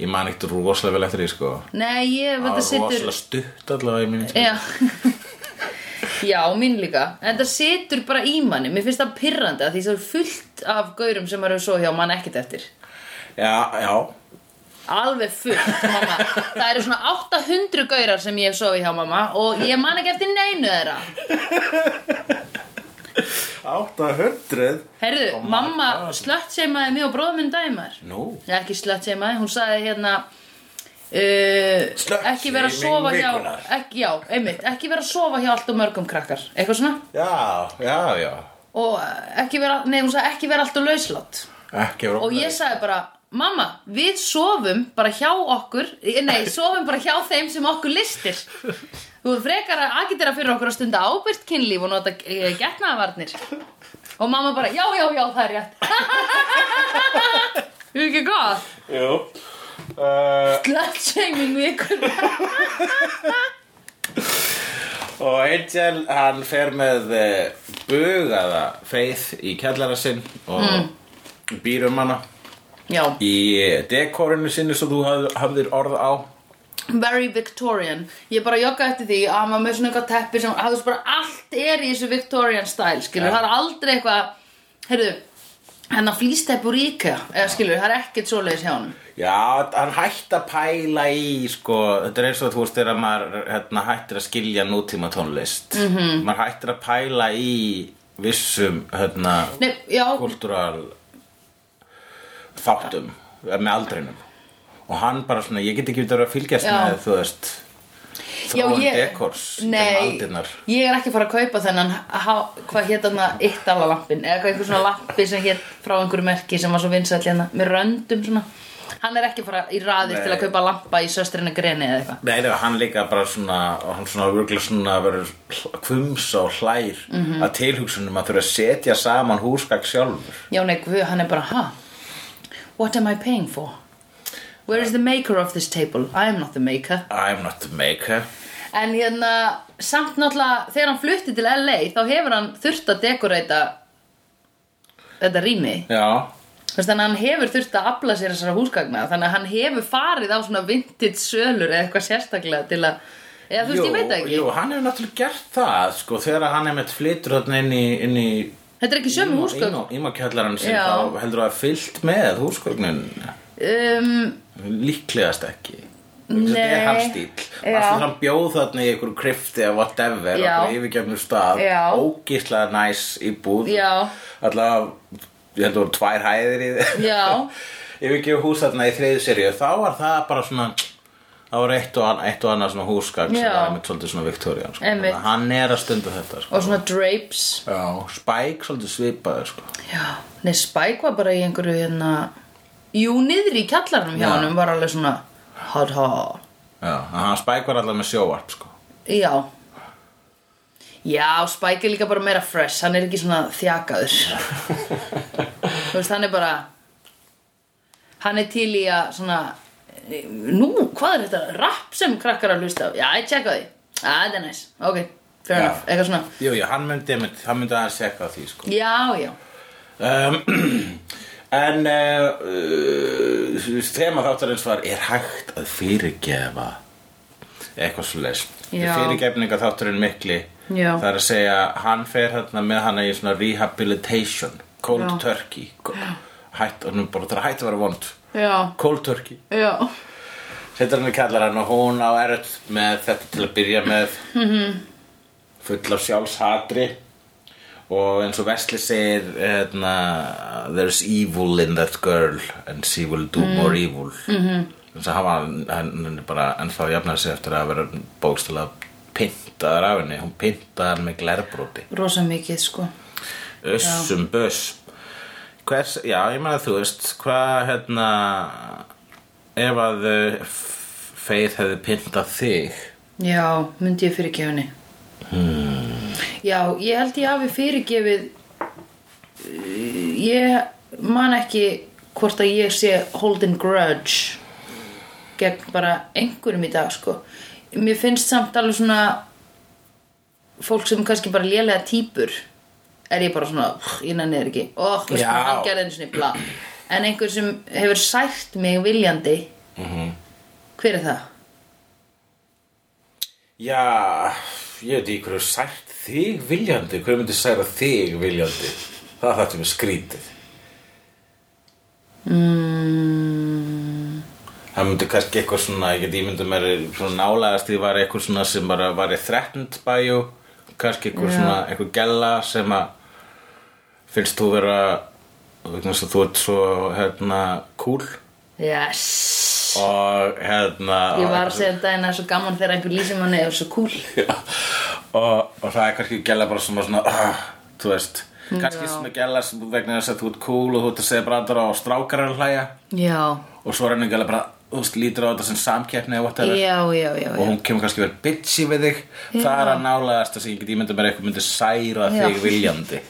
B: ég man ekkert rosalega vel eftir því, sko.
A: Nei, ég,
B: Það
A: þetta
B: var
A: situr
B: rosalega stutt allavega í mínu tíma.
A: Já Já, mín líka En það situr bara í manni Mér finnst það pirrandi að því það er fullt af gaurum sem maður hefur svo hjá mann ekkert eftir
B: Já, já
A: Alveg fullt, mamma Það eru svona 800 gaurar sem ég hef sofið hjá mamma Og ég man ekki eftir neinu þeirra
B: 800
A: Herðu,
B: Oh my
A: mamma
B: God.
A: slött seimaði mig og bróðum minn dæmar
B: Nú
A: Nei, ekki slött seimaði, hún sagði hérna uh, Ekki vera að sofa
B: Slutshaming
A: hjá
B: vikunnar.
A: ekki, Já, einmitt, ekki vera að sofa hjá allt og mörgum krakkar Eitthvað svona
B: Já, já, já
A: Og eh, ekki vera, nei, hún sagði ekki vera allt og lauslátt
B: Ekki vera
A: og ég sagði bara mamma, við sofum bara hjá okkur eh, nei, sofum bara hjá þeim sem okkur listir þú er frekar að agitera fyrir okkur að stunda ábyrgt kynlíf og nota eh, getnaðarvarnir og mamma bara, já, já, já, það er rétt Þú ekki gott?
B: Jú uh,
A: Slutshaming vikun
B: Og Angel, hann fer með uh, bugaða feið í kjallara sinn og mm. býr um hana
A: Já,
B: í dekorinu sinni sem þú hafð- hafðir orð á
A: very Victorian Ég bara jogga eftir því að hann var með svona eitthvað teppi sem hafði bara allt er í þessu Victorian style skilur,
B: Já.
A: það er aldrei eitthvað heyrðu, hennar flýsteppi úr IKEA eða skilur, það er ekkert svoleiðis hjá hann
B: Já, hann hætti að pæla í, sko, þetta er eins og þú veist þegar maður hérna, hættir að skilja nútíma tónlist
A: Mhm.
B: -hmm. Maður hættir að pæla í vissum, hérna,
A: Nei, já,
B: kultúral þáttum með aldrinum Og hann bara svona, ég get ekki verið að fylgjast
A: Já.
B: með, þú veist,
A: já
B: þróun
A: ég
B: dekors í gegnum
A: Nei,
B: aldirnar
A: ég er ekki að fara að kaupa þennan há- hvað hét hann að ittala lampin eða hvað einhver svona lampi sem hét frá einhverju merki sem var svo vinsæll hérna með röndum svona Hann er ekki að fara í raðir
B: Nei.
A: til að kaupa lampa í söstrina greni eða eitthvað
B: Nei, nei, hann líka bara svona hann svona virkulega svona verður hl- hvumsa og hlær
A: Mhm.
B: að tilhugsunum að þurfa að setja saman húsgagg sjálfur
A: Já, nei, guð, hann er bara, ha? What am I paying for? Where is the maker of this table? I am not the maker.
B: I'm not the maker
A: En hérna, samt náttúrulega, þegar hann flutti til LA, þá hefur hann þurft að dekoreita þetta rými.
B: Já,
A: Þú veist, Þannig að hann hefur þurft að afla sér þessara húsgagna. Þannig að hann hefur farið á svona vintage sölur eða eitthvað sérstaklega til að... Eða þú veist, ég veit það ekki.
B: jú, hann hefur náttúrulega gert það sko, þegar hann einmitt flytur þarna inn í, inn í
A: Þetta er ekki sömu húsgagn.
B: Ímakjallaran sem
A: Já.
B: þá heldur það fyllt með húsgögnin
A: Um,
B: líklegast ekki Þetta er
A: Nei.
B: hans stíl
A: Já.
B: Alltaf hann bjóð þarna í einhverju krifti eða whatever,
A: Já.
B: okkur yfirgefnum stað
A: Já.
B: ógíslega næs í búð
A: Já.
B: Alltaf, ég held að voru tvær hæðir í
A: Já.
B: Yfirgefum hús þarna í þriðu seríu Þá var það bara svona Það var eitt og, an- eitt og annað svona húsgagn sem
A: Já.
B: var einmitt svolítið svona Viktorían sko.
A: Einmitt.
B: Þannig að Hann er að stunda þetta sko.
A: og svona drapes.
B: Já, Spike svolítið svipaði sko.
A: Já, nei, Spike var bara í einhverju hérna Jú, niður í kjallaranum hjá
B: Já.
A: honum var alveg svona Hot hot
B: Já, en hann Spike var allavega með sjóvarp sko.
A: Já Já, Spike er líka bara meira fresh Hann er ekki svona þjakaður Þú veist, hann er bara Hann er til í að svona Nú, hvað er þetta? Rapp sem krakkar að hlusta á Já, ég tjekka því Já, þetta er næs Ok, fair
B: Já.
A: enough Eitthvað svona
B: Jú, jú, hann myndi, einmitt- hann myndi aðeins sekka á því sko.
A: Já, já
B: um, En uh, uh, Þema þáttarins var Er hægt að fyrirgefa Eitthvað svo leys
A: Já.
B: Fyrirgefninga þátturinn mikli
A: Já.
B: Það er að segja Hann fer hérna með hana í svona rehabilitation Cold
A: Já.
B: turkey Ko- Hætt, og nú bara það er hætt að vera vond
A: Já,
B: Cold turkey
A: já
B: Settar hann í kallar hann og hún á erut með þetta til að byrja með full af sjálfshatri og eins og Vesli segir hérna, there's evil in that girl and she will do more evil -hmm. þannig að hann, var- hann, hann er bara ennþá jafnar sig eftir að vera bókstilega pyntaður af henni hún pyntaði hann með glerbróti
A: Rosa mikið, sko
B: össum böss Hvers, já, ég meina þú veist hvað hérna ef að uh, F- Faith hefði pyntað þig
A: Já, myndi ég fyrirgefa henni Já, ég held ég hafi fyrirgefið uh, Ég man ekki hvort að ég sé holding grudge gegn bara einhverjum í dag sko. Mér finnst samt alveg svona fólk sem kannski bara lélega típur er ég bara svona, "Ugh, ég nenni þér ekki og oh,
B: Já.
A: hann gerði einu sinni bla en einhver sem hefur sætt mig viljandi hver er það?
B: Já, ég veit ekki hverju sært þig viljandi hver myndi særa þig viljandi það þarf sem er skrítið
A: mm,
B: það myndi kannski eitthvað svona ég get ímyndum er svona nálægast því var eitthvað svona sem bara var þrettund bæju kannski eitthvað svona eitthvað gella sem að finnst þú vera vegna þess að þú ert svo hérna cool
A: Yes
B: og hérna
A: Ég
B: og-
A: var að segja um daginn að það er svo gaman þegar einhver lýsir manni og svo cool
B: Já. og, og það er kannski gæla bara svona svona uh, þú veist kannski
A: Já.
B: svona gæla sem vegna þess að þú ert cool og þú ert að segja brandara og strákar er að hlæja
A: Já,
B: og svo er henni gæla bara þú veist lítur á þetta sem samkeppni og whatever
A: já, já, já,
B: og
A: já.
B: hún kemur kannski verið bitchy við þig það er að nálaðast þess að ég get ímyndum bara eitthvað myndi særa
A: Já.
B: þig viljandi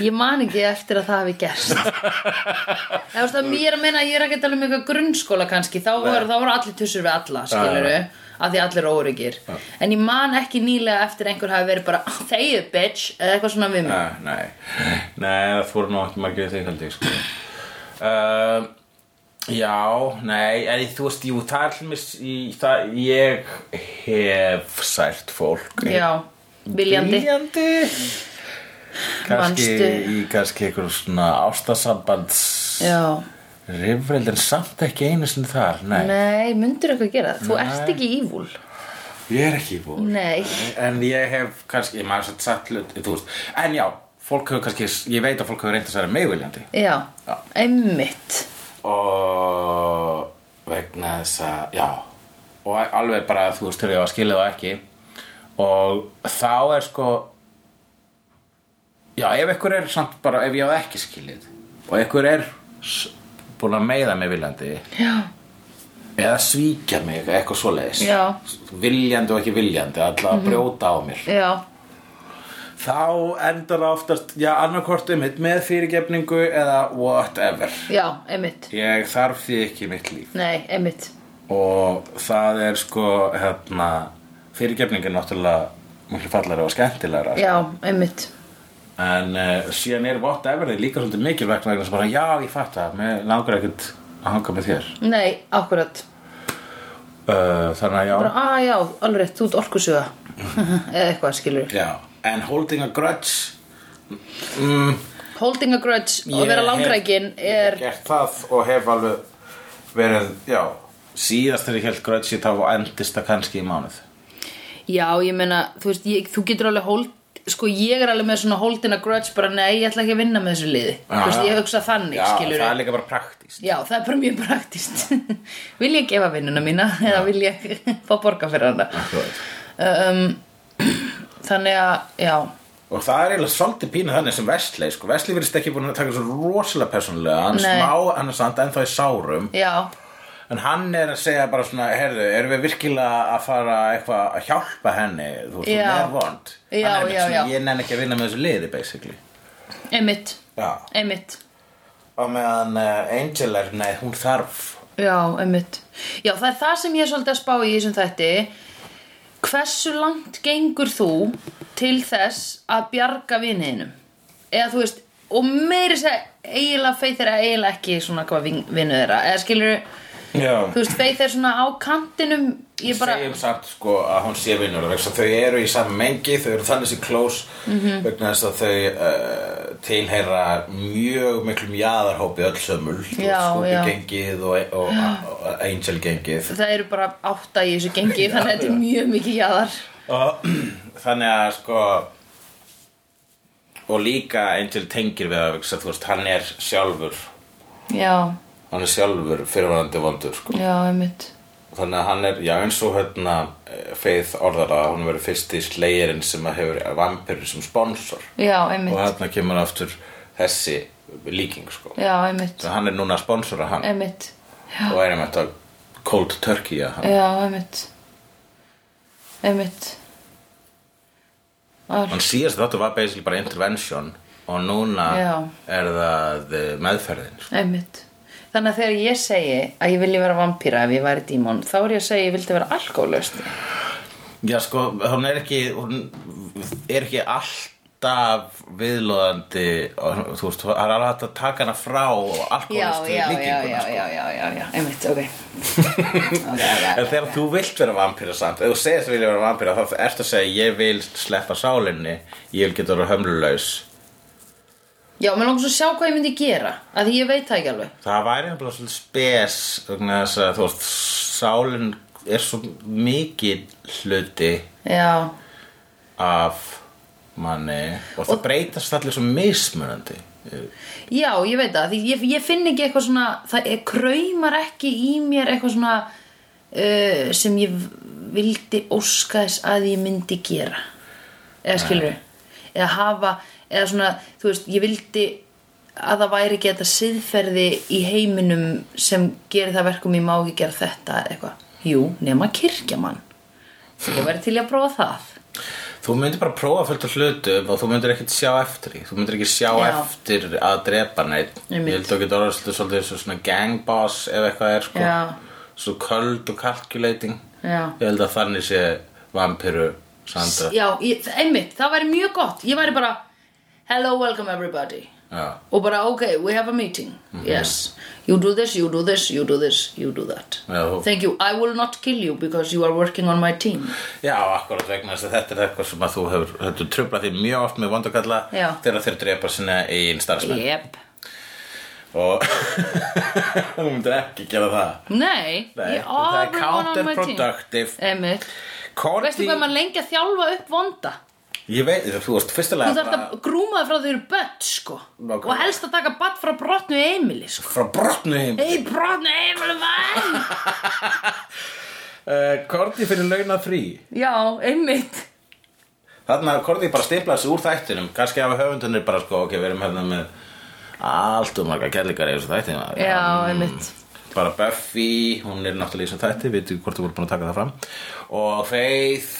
A: Ég man ekki eftir að það hafi gerst Það veist að mér að meina að ég er ekki að tala um eitthvað grunnskóla kannski þá voru, þá voru allir tussur við alla, skilurðu að því allir eru óryggir en ég man ekki nýlega eftir einhver hafi verið bara þegið bitch eða eitthvað svona við mig
B: Nei, Ah, nei, nei, það fóru nú ekki margir þig held ég sko uh, Já, nei, en þú veist, jú, það er hlumis í það, ég hef sært fólk
A: Já, viljandi
B: Viljandi Kannski
A: Manstu?
B: í kannski einhverjum svona ástasambands
A: Já,
B: Rifreld en samt ekki einu sinni þar, nei,
A: nei, myndir eitthvað gera það? Þú ert ekki ívúl
B: Ég er ekki búin
A: Nei,
B: En ég hef kannski, ég maður satt satt hlut, þú veist En já, fólk hefur kannski, ég veit að fólk hefur reynd að særa mig viljandi
A: já,
B: Já.
A: einmitt
B: og vegna þess að, já og alveg bara, þú veist, þegar ég var skilið og ekki og þá er sko já, ef ykkur er samt bara, ef ég á ekki skilið og ykkur er s- búin að meiða mig viljandi
A: Já,
B: eða svíkja mig, eitthvað svoleiðis
A: Já.
B: viljandi og ekki viljandi alltaf að brjóta á mér
A: já,
B: þá endar það oftast, já, annarkvort um hitt með fyrirgefningu eða whatever
A: já, einmitt
B: ég þarf því ekki í mitt líf
A: Nei, einmitt
B: og það er sko hérna, fyrirgefning er náttúrulega mjög fallara og skemmtilegra
A: Já, einmitt
B: en uh, síðan er vott efrið líka svolítið mikilvægt vegna sem bara já ég fatt það, mér langar ekkert að hanga með þér
A: Nei, akkurat
B: uh, þannig að já,
A: bara, að já, alveg rétt, þú ert orkusuga eða eitthvað skilur
B: já en holding a grudge mm,
A: holding a grudge og
B: ég
A: vera
B: hef-
A: langrækin er,
B: ég hef gert það og hef alveg verið, já síðast þegar ég held grudge ég þá endist það kannski í mánuð
A: já, ég meina þú veist, ég, þú getur alveg hold sko, ég er alveg með svona holding a grudge bara, nei, ég ætla ekki að vinna með þessu liði þú veist, ég hugsa þannig,
B: Ah. já,
A: skilur
B: það er líka bara praktíst
A: já, það er bara mjög praktist vil ég gefa vinnuna mína eða vil ég fá borga fyrir hana
B: Akkurat.
A: um, þannig að, já
B: Og það er eiginlega svolítið pínu þannig sem Vestley, sko. Vestley virðist ekki búin að taka svo rosalega persónulega. Hann
A: Nei.
B: smá, hann er samt ennþá í sárum.
A: já,
B: En hann er að segja bara svona, heyrðu, erum við virkilega að fara eitthvað að hjálpa henni? Þú veist,
A: Já.
B: hún er vond.
A: Já,
B: hann er einmitt
A: já,
B: svona,
A: já.
B: Ég nenn ekki að vinna með þessu liði, basically.
A: einmitt
B: Já.
A: einmitt
B: Og meðan uh, Angel er, nei, hún þarf.
A: Já, einmitt. Já, það er það sem ég er svolítið að spá í þessum þætti. Hversu langt gengur þú til þess að bjarga viniðinum? Eða þú veist, og meiri segja eiginlega feið þeirra eiginlega ekki svona hvað vinuð þeirra. Eða skilur,
B: Já.
A: þú veist, feið þeirra svona á kantinum, ég bara,
B: segjum samt sko að hún sé vinnur vegna þess að þau eru í saman mengi, þau eru þannig sér close
A: Mhm.
B: vegna þess að þau uh, tilheyra mjög miklum jaðarhópi öll sömul
A: Já, já.
B: gengið og, e- og, og, og angel gengið
A: það eru bara átta í þessu gengi, þannig að þetta er mjög mikið jáðar.
B: og þannig að sko og líka angel tengir við það vegna þess að þú veist hann er sjálfur
A: Já,
B: hann er sjálfur fyrirvarandi vondur sko
A: já, einmitt.
B: Þannig að hann er, já eins og hérna Faith orðar að hún verið fyrsti slegirinn sem að hefur vampirinn sem sponsor
A: Já,
B: og
A: einmitt.
B: hérna kemur aftur þessi líking sko
A: Já, einmitt.
B: Þannig að hann er núna að sponsora hann
A: Einmitt. Já.
B: og er einmitt að cold turkey að hann
A: Já, einmitt Einmitt Ar,
B: hann síðast þáttu var basically bara intervention og núna
A: Já.
B: er það eh, meðferðin sko.
A: Einmitt Þannig að þegar ég segi að ég vilji vera vampíra ef ég væri dímon, þá er ég að segja að ég vildi vera alkoholust.
B: Já sko, hún er ekki hún er ekki all alltaf viðlóðandi og, þú veist, það er alveg hægt að taka hana frá sko. og
A: já,
B: alkoholist
A: já, já, já, já, já, já, já, einmitt, ok Ok,
B: En
A: ok,
B: þegar þú vilt vera vampíra samt, ef þú segist að vilja vera vampíra þá ertu að segja ég vil sleppa sálinni, ég vil geta vera hömlulaus.
A: Já, mér langar svo að sjá hvað ég myndi gera að því ég veit það ekki alveg
B: Það væri nefnilega svolítið spes vegna þess að þú veist, sálinn er svo mikið hluti
A: Já,
B: af manni og það breytast allir svo mismunandi.
A: já, ég veit það því ég, ég finn ekki eitthvað svona það er, kraumar ekki í mér eitthvað svona uh, sem ég v- vildi óska þess að ég myndi gera eða skilur eða hafa, eða svona, þú veist, ég vildi að það væri ekki þetta siðferði í heiminum sem gerir það verkum ég má ekki gera þetta eða eitthvað, jú, nema kirkjamann ég væri til í að prófa það
B: Þú myndir bara prófa fullt af hlutum og þú myndir ekkert sjá eftir því. Þú myndir ekki sjá
A: Já.
B: eftir að drepa neitt. Ég
A: Einmitt.
B: held að geta orðið svolítið- svolítið eins og svona gangboss ef eitthvað er sko.
A: Já.
B: Svo köld og calculating.
A: Já.
B: Ég held að þannig sé vampiru Sandra.
A: já, ég, einmitt, það væri mjög gott ég væri bara, hello, welcome everybody
B: Já.
A: og bara, ok, we have a meeting
B: Mhm.
A: yes, you do this, you do this, you do this you do that
B: Já, þú-
A: thank you, I will not kill you because you are working on my team
B: Já, akkurat vegna þess að þetta er eitthvað sem að þú hefur, þetta trubla því mjög oft með vondakalla
A: Já.
B: þegar þeir drepa sinna eigin starfsmenn
A: yep
B: og þú myndir ekki gera það.
A: Nei,
B: Nei,
A: ég
B: það er
A: alveg vona á maður tím
B: counterproductive.
A: Einmitt
B: Korti,
A: Veistu hvað maður lengi að þjálfa upp vonda?
B: Ég veit, þú veist, fyrstulega
A: Þú þarft að grúma það frá þau eru börn, sko
B: Nákvæmlega.
A: Og helst að taka batt frá brotnu Emili, sko
B: frá brotnu heim
A: Ei, brotnu Emili, mann
B: uh, Korti fyrir launað frí
A: Já, einmitt
B: Þarna að Korti bara stiflaði sig úr þættinum kannski hafa höfundunir bara sko ok, við erum hérna með allt og marga kærleikar í þessu þætti maður.
A: Já,
B: Mm.
A: einmitt.
B: Bara Buffy, hún er náttúrulega í þessu þætti við veitum hvort þú voru búin að taka það fram og Faith,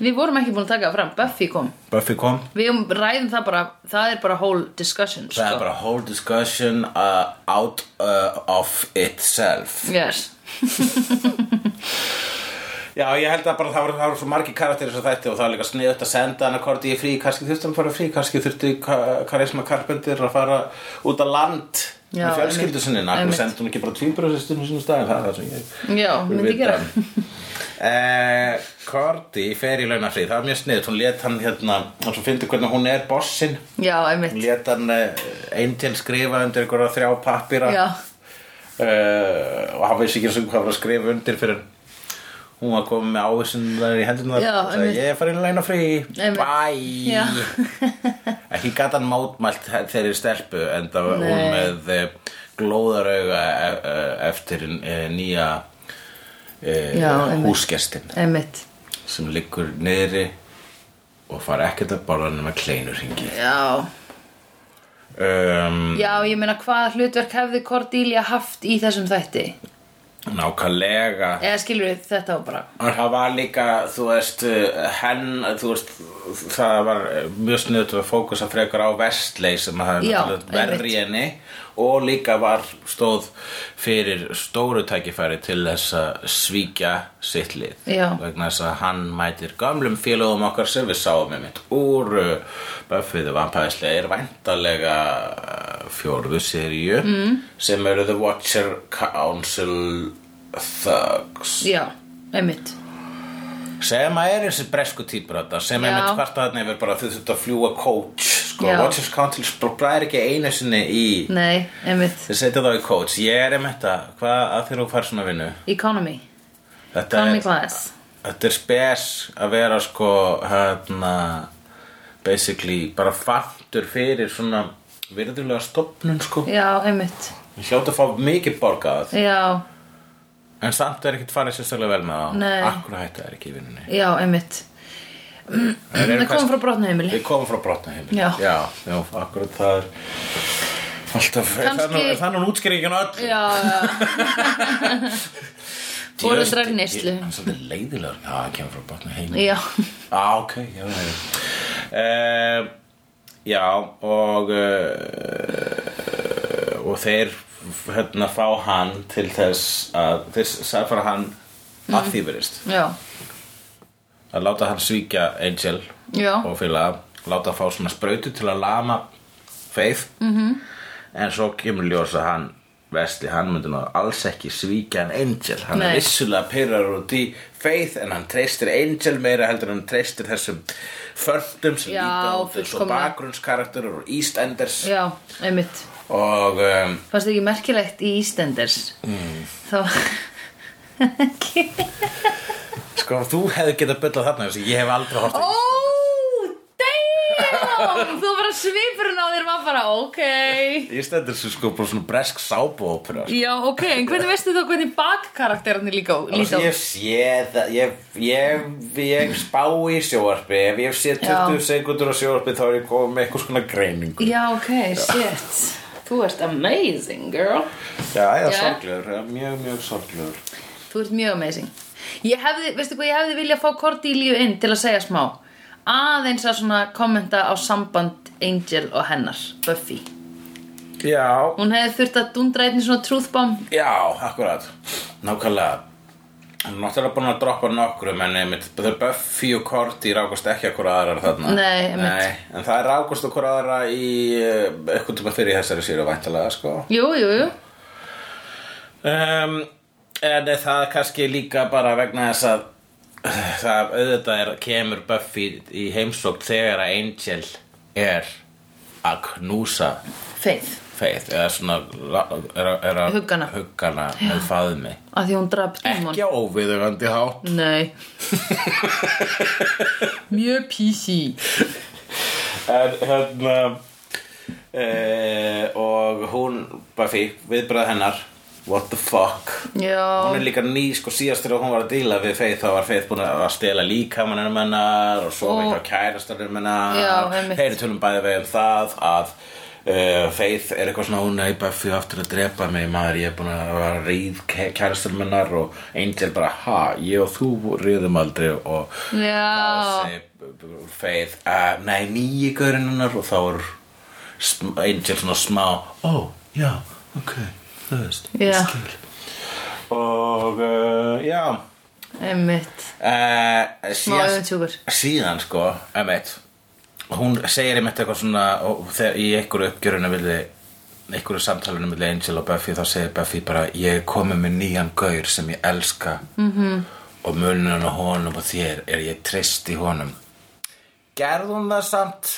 A: Við vorum ekki búin að taka það fram, Buffy kom
B: Buffy kom
A: Við um- ræðum það bara, það er bara whole discussion, sko
B: Það er bara whole discussion uh, out uh, of itself
A: Yes
B: Já, ég held að bara það voru, það voru svo margi karakterir svo þætti og það var líka sniðut að senda hann að Korti í frí, kannski þurfti hann að fara í frí, kannski þurfti Ka- Karisma Carpenter að fara út á land
A: Já,
B: með fjölskyldu
A: einmitt,
B: sinni, nákvæm
A: einmitt.
B: sendi hún ekki bara tvíbröðsistunum sínum staðin, það er það sem ég um.
A: Já, myndi gera
B: Eh, Korti fer í launafrí, það var mjög sniðut, hún let hann hérna, hann svo fyndi hvernig hún er bossinn,
A: Já, einmitt
B: hún let hann eh, Angel skrifa undir einhverja þrjá pappýra
A: Já,
B: uh, og hann veist ekki eins og hvað var að skrifa undir fyrir hún var komin með ávísin í hendurnar
A: Já,
B: og sagði
A: einmitt.
B: ég er farin í launa frí
A: Einmitt. Já.
B: bæ ekki gata hann mótmælt þeirri stelpu en það var hún
A: Nei.
B: með eh, glóðarauga e- e- eftir eh, nýja
A: Já,
B: e,
A: einmitt.
B: húsgestin
A: einmitt
B: sem liggur niðri og fara ekkert að borða nema kleinur hingi
A: Já,
B: um,
A: Já, ég meina hvaða hlutverk hefði Cordelia haft í þessum þætti?
B: nákvæmlega
A: Eða skilur við þetta var bara
B: En það var líka, þú veist, uh, henn, þú veist, það var uh, mjög sniðut að fókusa frekar á vestlei sem að það er
A: Já,
B: náttúrulega verri í henni og líka var stóð fyrir stóru tækifæri til þess að svíkja sitt lið
A: Já.
B: vegna þess að hann mætir gamlum félögum okkar sem við sáum með mitt úr uh, Buffy the Vampire Slayer væntalega uh, fjórðu seríu mm. sem eru The Watcher Council Thugs
A: Já, einmitt
B: sem að er þessi bresku típur þetta sem
A: Já.
B: er mitt hvarta þarna yfir bara þau þurft að fljúa coach sko,
A: Já.
B: Watchers Council spróklaðir ekki einu sinni í
A: Nei, einmitt
B: þeir setja þá í coach, ég er um þetta hvað að þeir og fær svona vinnu
A: Economy,
B: þetta
A: economy
B: er,
A: class
B: þetta er spes að vera sko hérna, basically bara fattur fyrir svona virðulega stofnun sko
A: Já, einmitt
B: ég hljóta að fá mikið borgað
A: Já,
B: en samt er ekkert farið sérstaklega vel með það
A: Nei.
B: akkur hætta er ekki í vinnunni
A: já, einmitt
B: Það
A: Það kom frá brotnu heimili
B: Við komum frá brotna heimil
A: Já.
B: já, já akkurat það er Alltaf, Kanski...
A: Kannski-
B: það er nú- það er nú útskýringin á öll
A: Já, já, foreldrar í neyslu.
B: Hann er svolítið leiðilegur Já, hann kemur frá brotna heimil
A: já
B: Á, ok, já, já, já uh, Já, og uh, og þeir hérna fá hann til þess að þeir sæfara hann að því verist
A: Já,
B: að láta hann svíkja Angel
A: já,
B: og félaga láta fá svona sprautu til að lama feið -hmm.
A: Mhm.
B: en svo kemur ljós að hann Vesli, hann myndi nú alls ekki svíkja en Angel hann
A: Nei.
B: er vissulega pyrrar út í Faith en hann treystir Angel meira heldur en hann treystir þessum förtum sem
A: Já,
B: líka út eins og
A: fullkomlega.
B: bakgrunnskarakterur og Eastenders
A: Já, einmitt
B: og um,
A: Fannst þið ekki merkilegt í Ístenders mm. Þá Ekki
B: sko þú hefði getað byllað þarna þessi ég hef aldrei hort
A: Ó, damn Þú bara svipurinn á þér var bara, ok
B: Eastenders er sko bara svona bresk sábóopera sko.
A: Já, ok, en hvernig veistu þá hvernig bakkarakterarnir líka á-
B: Ég
A: líta á?
B: hef séð, það- ég, ég, ég spá í sjóvarpi, ef ég hef séð 20
A: Já.
B: sekundur á sjóvarpi þá er ég komið með eitthvað skona greiningu.
A: Já, ok, shit Þú ert amazing, girl
B: Já, já,
A: Já.
B: sorglegur, já, mjög, mjög sorglegur.
A: Þú ert mjög amazing Ég hefði, veistu hvað, ég hefði viljað fá Cordelia inn til að segja smá Aðeins að svona kommenta á samband Angel og hennar, Buffy
B: Já,
A: Hún hefði þurft að dundra einnig svona trúðbám
B: já, akkurat, nákvæmlega. Hann er náttúrulega búin að droppa nokkrum en einmitt, þau Buffy og Cordy rákast ekki að hvora aðrar þarna.
A: Nei, einmitt.
B: Nei, en það er rákast að hvora aðra í eh, eitthvað tíma fyrir þessari séru væntalega, sko.
A: Jú, jú, jú
B: um, En það er kannski líka bara vegna þess að það auðvitað er, kemur Buffy í heimsókn þegar að Angel er að knúsa
A: Faith,
B: Faith eða svona la- er, að- er að
A: Huggana.
B: huggana með faðmi
A: að því hún draf tímon
B: ekki á óviðugandi hátt
A: Nei Mjög písi
B: en hérna e, og hún Buffy, viðbröð hennar what the fuck
A: Já,
B: Hún er líka ný, sko síðast þegar hún var að díla við Faith þá var Faith búin að stela líkamannum hennar og svo
A: Og-
B: var ekki á kærastanum
A: Já,
B: hennar
A: einmitt.
B: Heyri tölum bæði veginn það að uh, Faith er eitthvað svona hún neipa fyrir aftur að drepa mig maður ég er búin að vera að ríð kærastanum hennar og Angel bara ha, ég og þú ríðum aldrei og
A: já
B: segir Faith að nei, nýji gaurinn hennar og þá er sm- Angel svona smá ó, já, ok, það veist ég
A: Já.
B: skil." og uh, já
A: Einmitt
B: uh,
A: Smá öfundsjúkur
B: síðan sko emeit, hún segir einmitt eitthvað svona og þegar í einhverju uppgjörinu vildi einhverju samtalinu milli Angel og Buffy þá segir Buffy bara ég er komið með nýjan gaur sem ég elska
A: Mhm.
B: -hmm. og munurinn á honum og þér er ég treyst í honum gerði hún það samt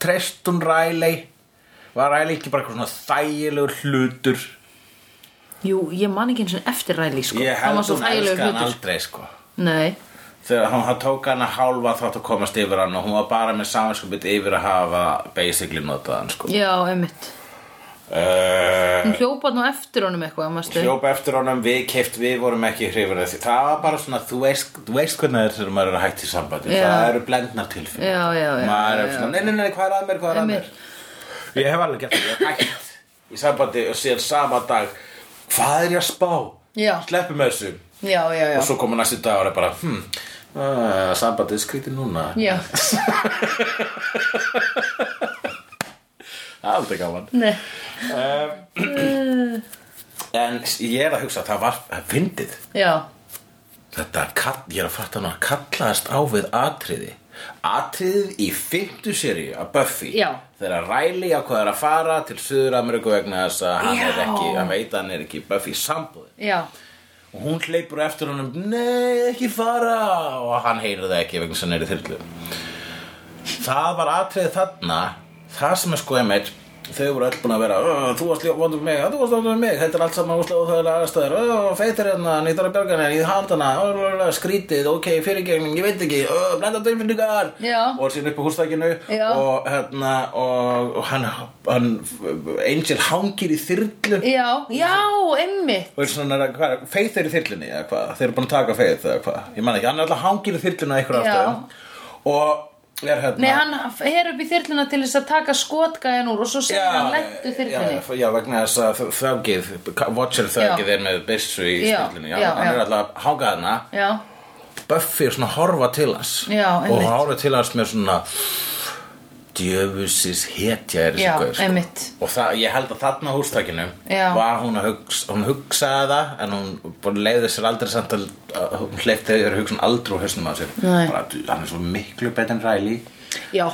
B: treyst hún Riley var Riley ekki bara eitthvað svona þægilegur hlutur
A: Jú, ég man ekki eins og eftir ræli sko
B: ég
A: Hann var
B: held
A: svo
B: hún
A: þægilegur
B: elska hann
A: hlutur.
B: aldrei sko
A: Nei,
B: þegar hann hann tók hann að hálfa þátt að komast yfir hann og hún var bara með samanskupið yfir að hafa basically notað hann sko
A: já, einmitt
B: uh,
A: Hún hljópað nú eftir honum eitthvað, mástu
B: hljópa eftir honum, við keift við vorum ekki hrifur því það var bara svona, þú veist, þú veist hvernig það er þegar maður er að hætti sambandi
A: Já.
B: það eru blendnar tilfinn
A: Já, já, já,
B: maður
A: já,
B: er svona, nei, nei, nei, hvað er að mér, hvað er að mér ég hef alveg gert það, ég hef hætt í sambandi og síðan sama dag hvað er ég að spá,
A: Já.
B: sleppum þessu
A: Já, já, já
B: og svo koma næstu dag og það er bara hmm, uh, sambandið skríti núna
A: Já,
B: það er aldrei gaman
A: nei
B: en ég er að hugsa að það var að fyndið
A: Já,
B: þetta, kall- ég er að fatta nú að kallaðast á við atriði atriðið í fymtu seríu að Buffy
A: Já.
B: þegar Riley ákvaðar að fara til Suður Ameríku vegna þess að hann er
A: Já.
B: ekki hann veit að hann er ekki Buffy sambúðin
A: já
B: og hún hleypur á eftir honum nei ekki fara og hann heyrir það ekki vegna þess að hann er í þyrlu það var atriðið þarna það sem er sko einmitt þau voru öll búin að vera "Ö, þú varst líka vondur með mig, "Ö, þú varst vondur með mig þetta er allt saman úslega og það er aðstæður feitir hérna, nýttar að björga henni, ég hand hana ö, ö, ö, skrítið, ok, fyrirgegning, ég veit ekki ö, blenda dæmfinningar
A: Já.
B: og síðan upp á hústakinu
A: Já.
B: og, hérna, og, og hann, hann Angel hangir í þyrlu
A: Já, já, einmitt
B: og er svona, hvað, er- Faith er í þyrlunni eða hvað, þeir eru búin að taka Faith eða hvað ég man ekki, hann er alltaf hangir í þyrlunni að ykkur
A: Já.
B: aftur og er hérna
A: Nei, hann her upp í þyrluna til þess að taka skotgæðan úr og svo segir hann lettu þyrlunni
B: já, já, vegna þess að þ- þöggið, Watcher þöggið
A: Já.
B: er með byssu í
A: Já,
B: þyrlunni já,
A: já,
B: hann
A: já.
B: er alltaf að hanga þarna
A: Já,
B: Buffy er svona að horfa til hans
A: Já,
B: og
A: einmitt.
B: horfa til hans með svona djöfusis hetja er þessi
A: Já,
B: gaur, sko.
A: einmitt.
B: og það, ég held að þarna á hústakinu
A: Já.
B: var hún að hugsa, hún hugsaði það en hún bara leiði sér aldrei samt að að hún hleypti þegar hugsun aldrei á hausnum að sér
A: Nei.
B: bara, "Djú, hann er svo miklu betur en Riley
A: já,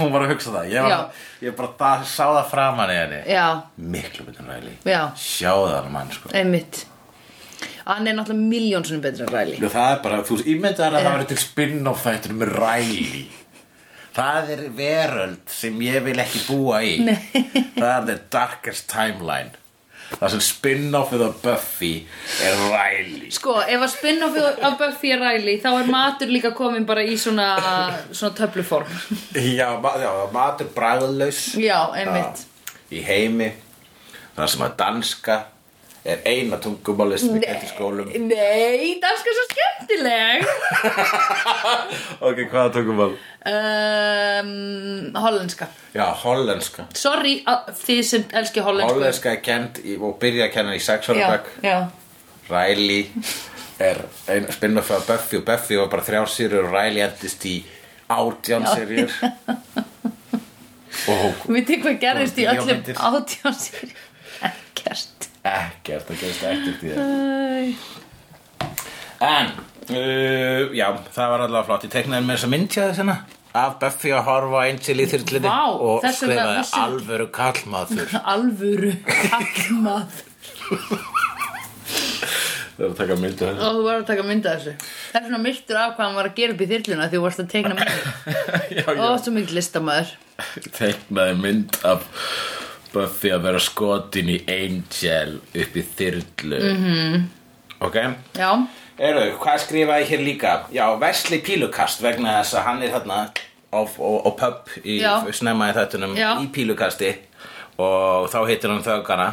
B: hún var að hugsa það ég,
A: Já.
B: var, ég bara da, sá það framan í henni
A: já,
B: miklu betur en Riley
A: Já.
B: sjá það alveg mann sko
A: einmitt hann er náttúrulega miljón svona betri en Riley
B: Nú, það er bara, þú veist, ímyndaðar að það verður til spin-off þættur með Riley það er veröld sem ég vil ekki búa í Nei. það er the darkest timeline það sem spin-offið á Buffy er Riley
A: Sko, ef að spin-offi af Buffy er Riley þá er matur líka komin bara í svona, svona töfluform
B: já, ma já matur bragðlaus
A: Já, einmitt
B: í heimi það sem að danska er eina tungumáli sem við getum skólum
A: Nei, danska er svo skemmtileg
B: ok, hvaða tungumál?
A: um, Hollenska
B: já, hollenska
A: Sorry að þið sem elski hollensku
B: hollenska er kend í, og byrja að kenna í sex ára
A: Já,
B: dag
A: já
B: Riley er ein spinna frá Buffy og Buffy var bara þrjár sýrur og Riley endist í átján sýrur og
A: Við tegum hvað gerðist í
B: Og
A: öllum
B: bíómyndir.
A: átján sér Ekkert
B: ekkert það gerist ekkert í það
A: Æ.
B: en, uh, já, það var allavega flott ég teknaði með þess að myndja þess hérna af Buffy að horfa á Angel í þyrtliti
A: Vá,
B: og
A: þess vegna
B: skrifaði
A: vissum-
B: alvöru kallmaður
A: Alvöru Kallmað
B: það er að taka myndu
A: Og þú var að taka mynda þessu Það er svona myrtur af hvað hann var að gera upp í þyrluna því þú varst að tegna mynd
B: já,
A: Ó, svo mikið listamæður
B: teiknaði mynd af Buffy að vera skotin í Angel upp í þyrlu -hmm. ok
A: Já,
B: Eru, hvað skrifaði hér líka? Já, Vesli Pílukast vegna þess að hann er hérna á, á, á pub í,
A: Já.
B: snemma í þættunum
A: Já.
B: í Pílukasti og þá hittir hann þöggana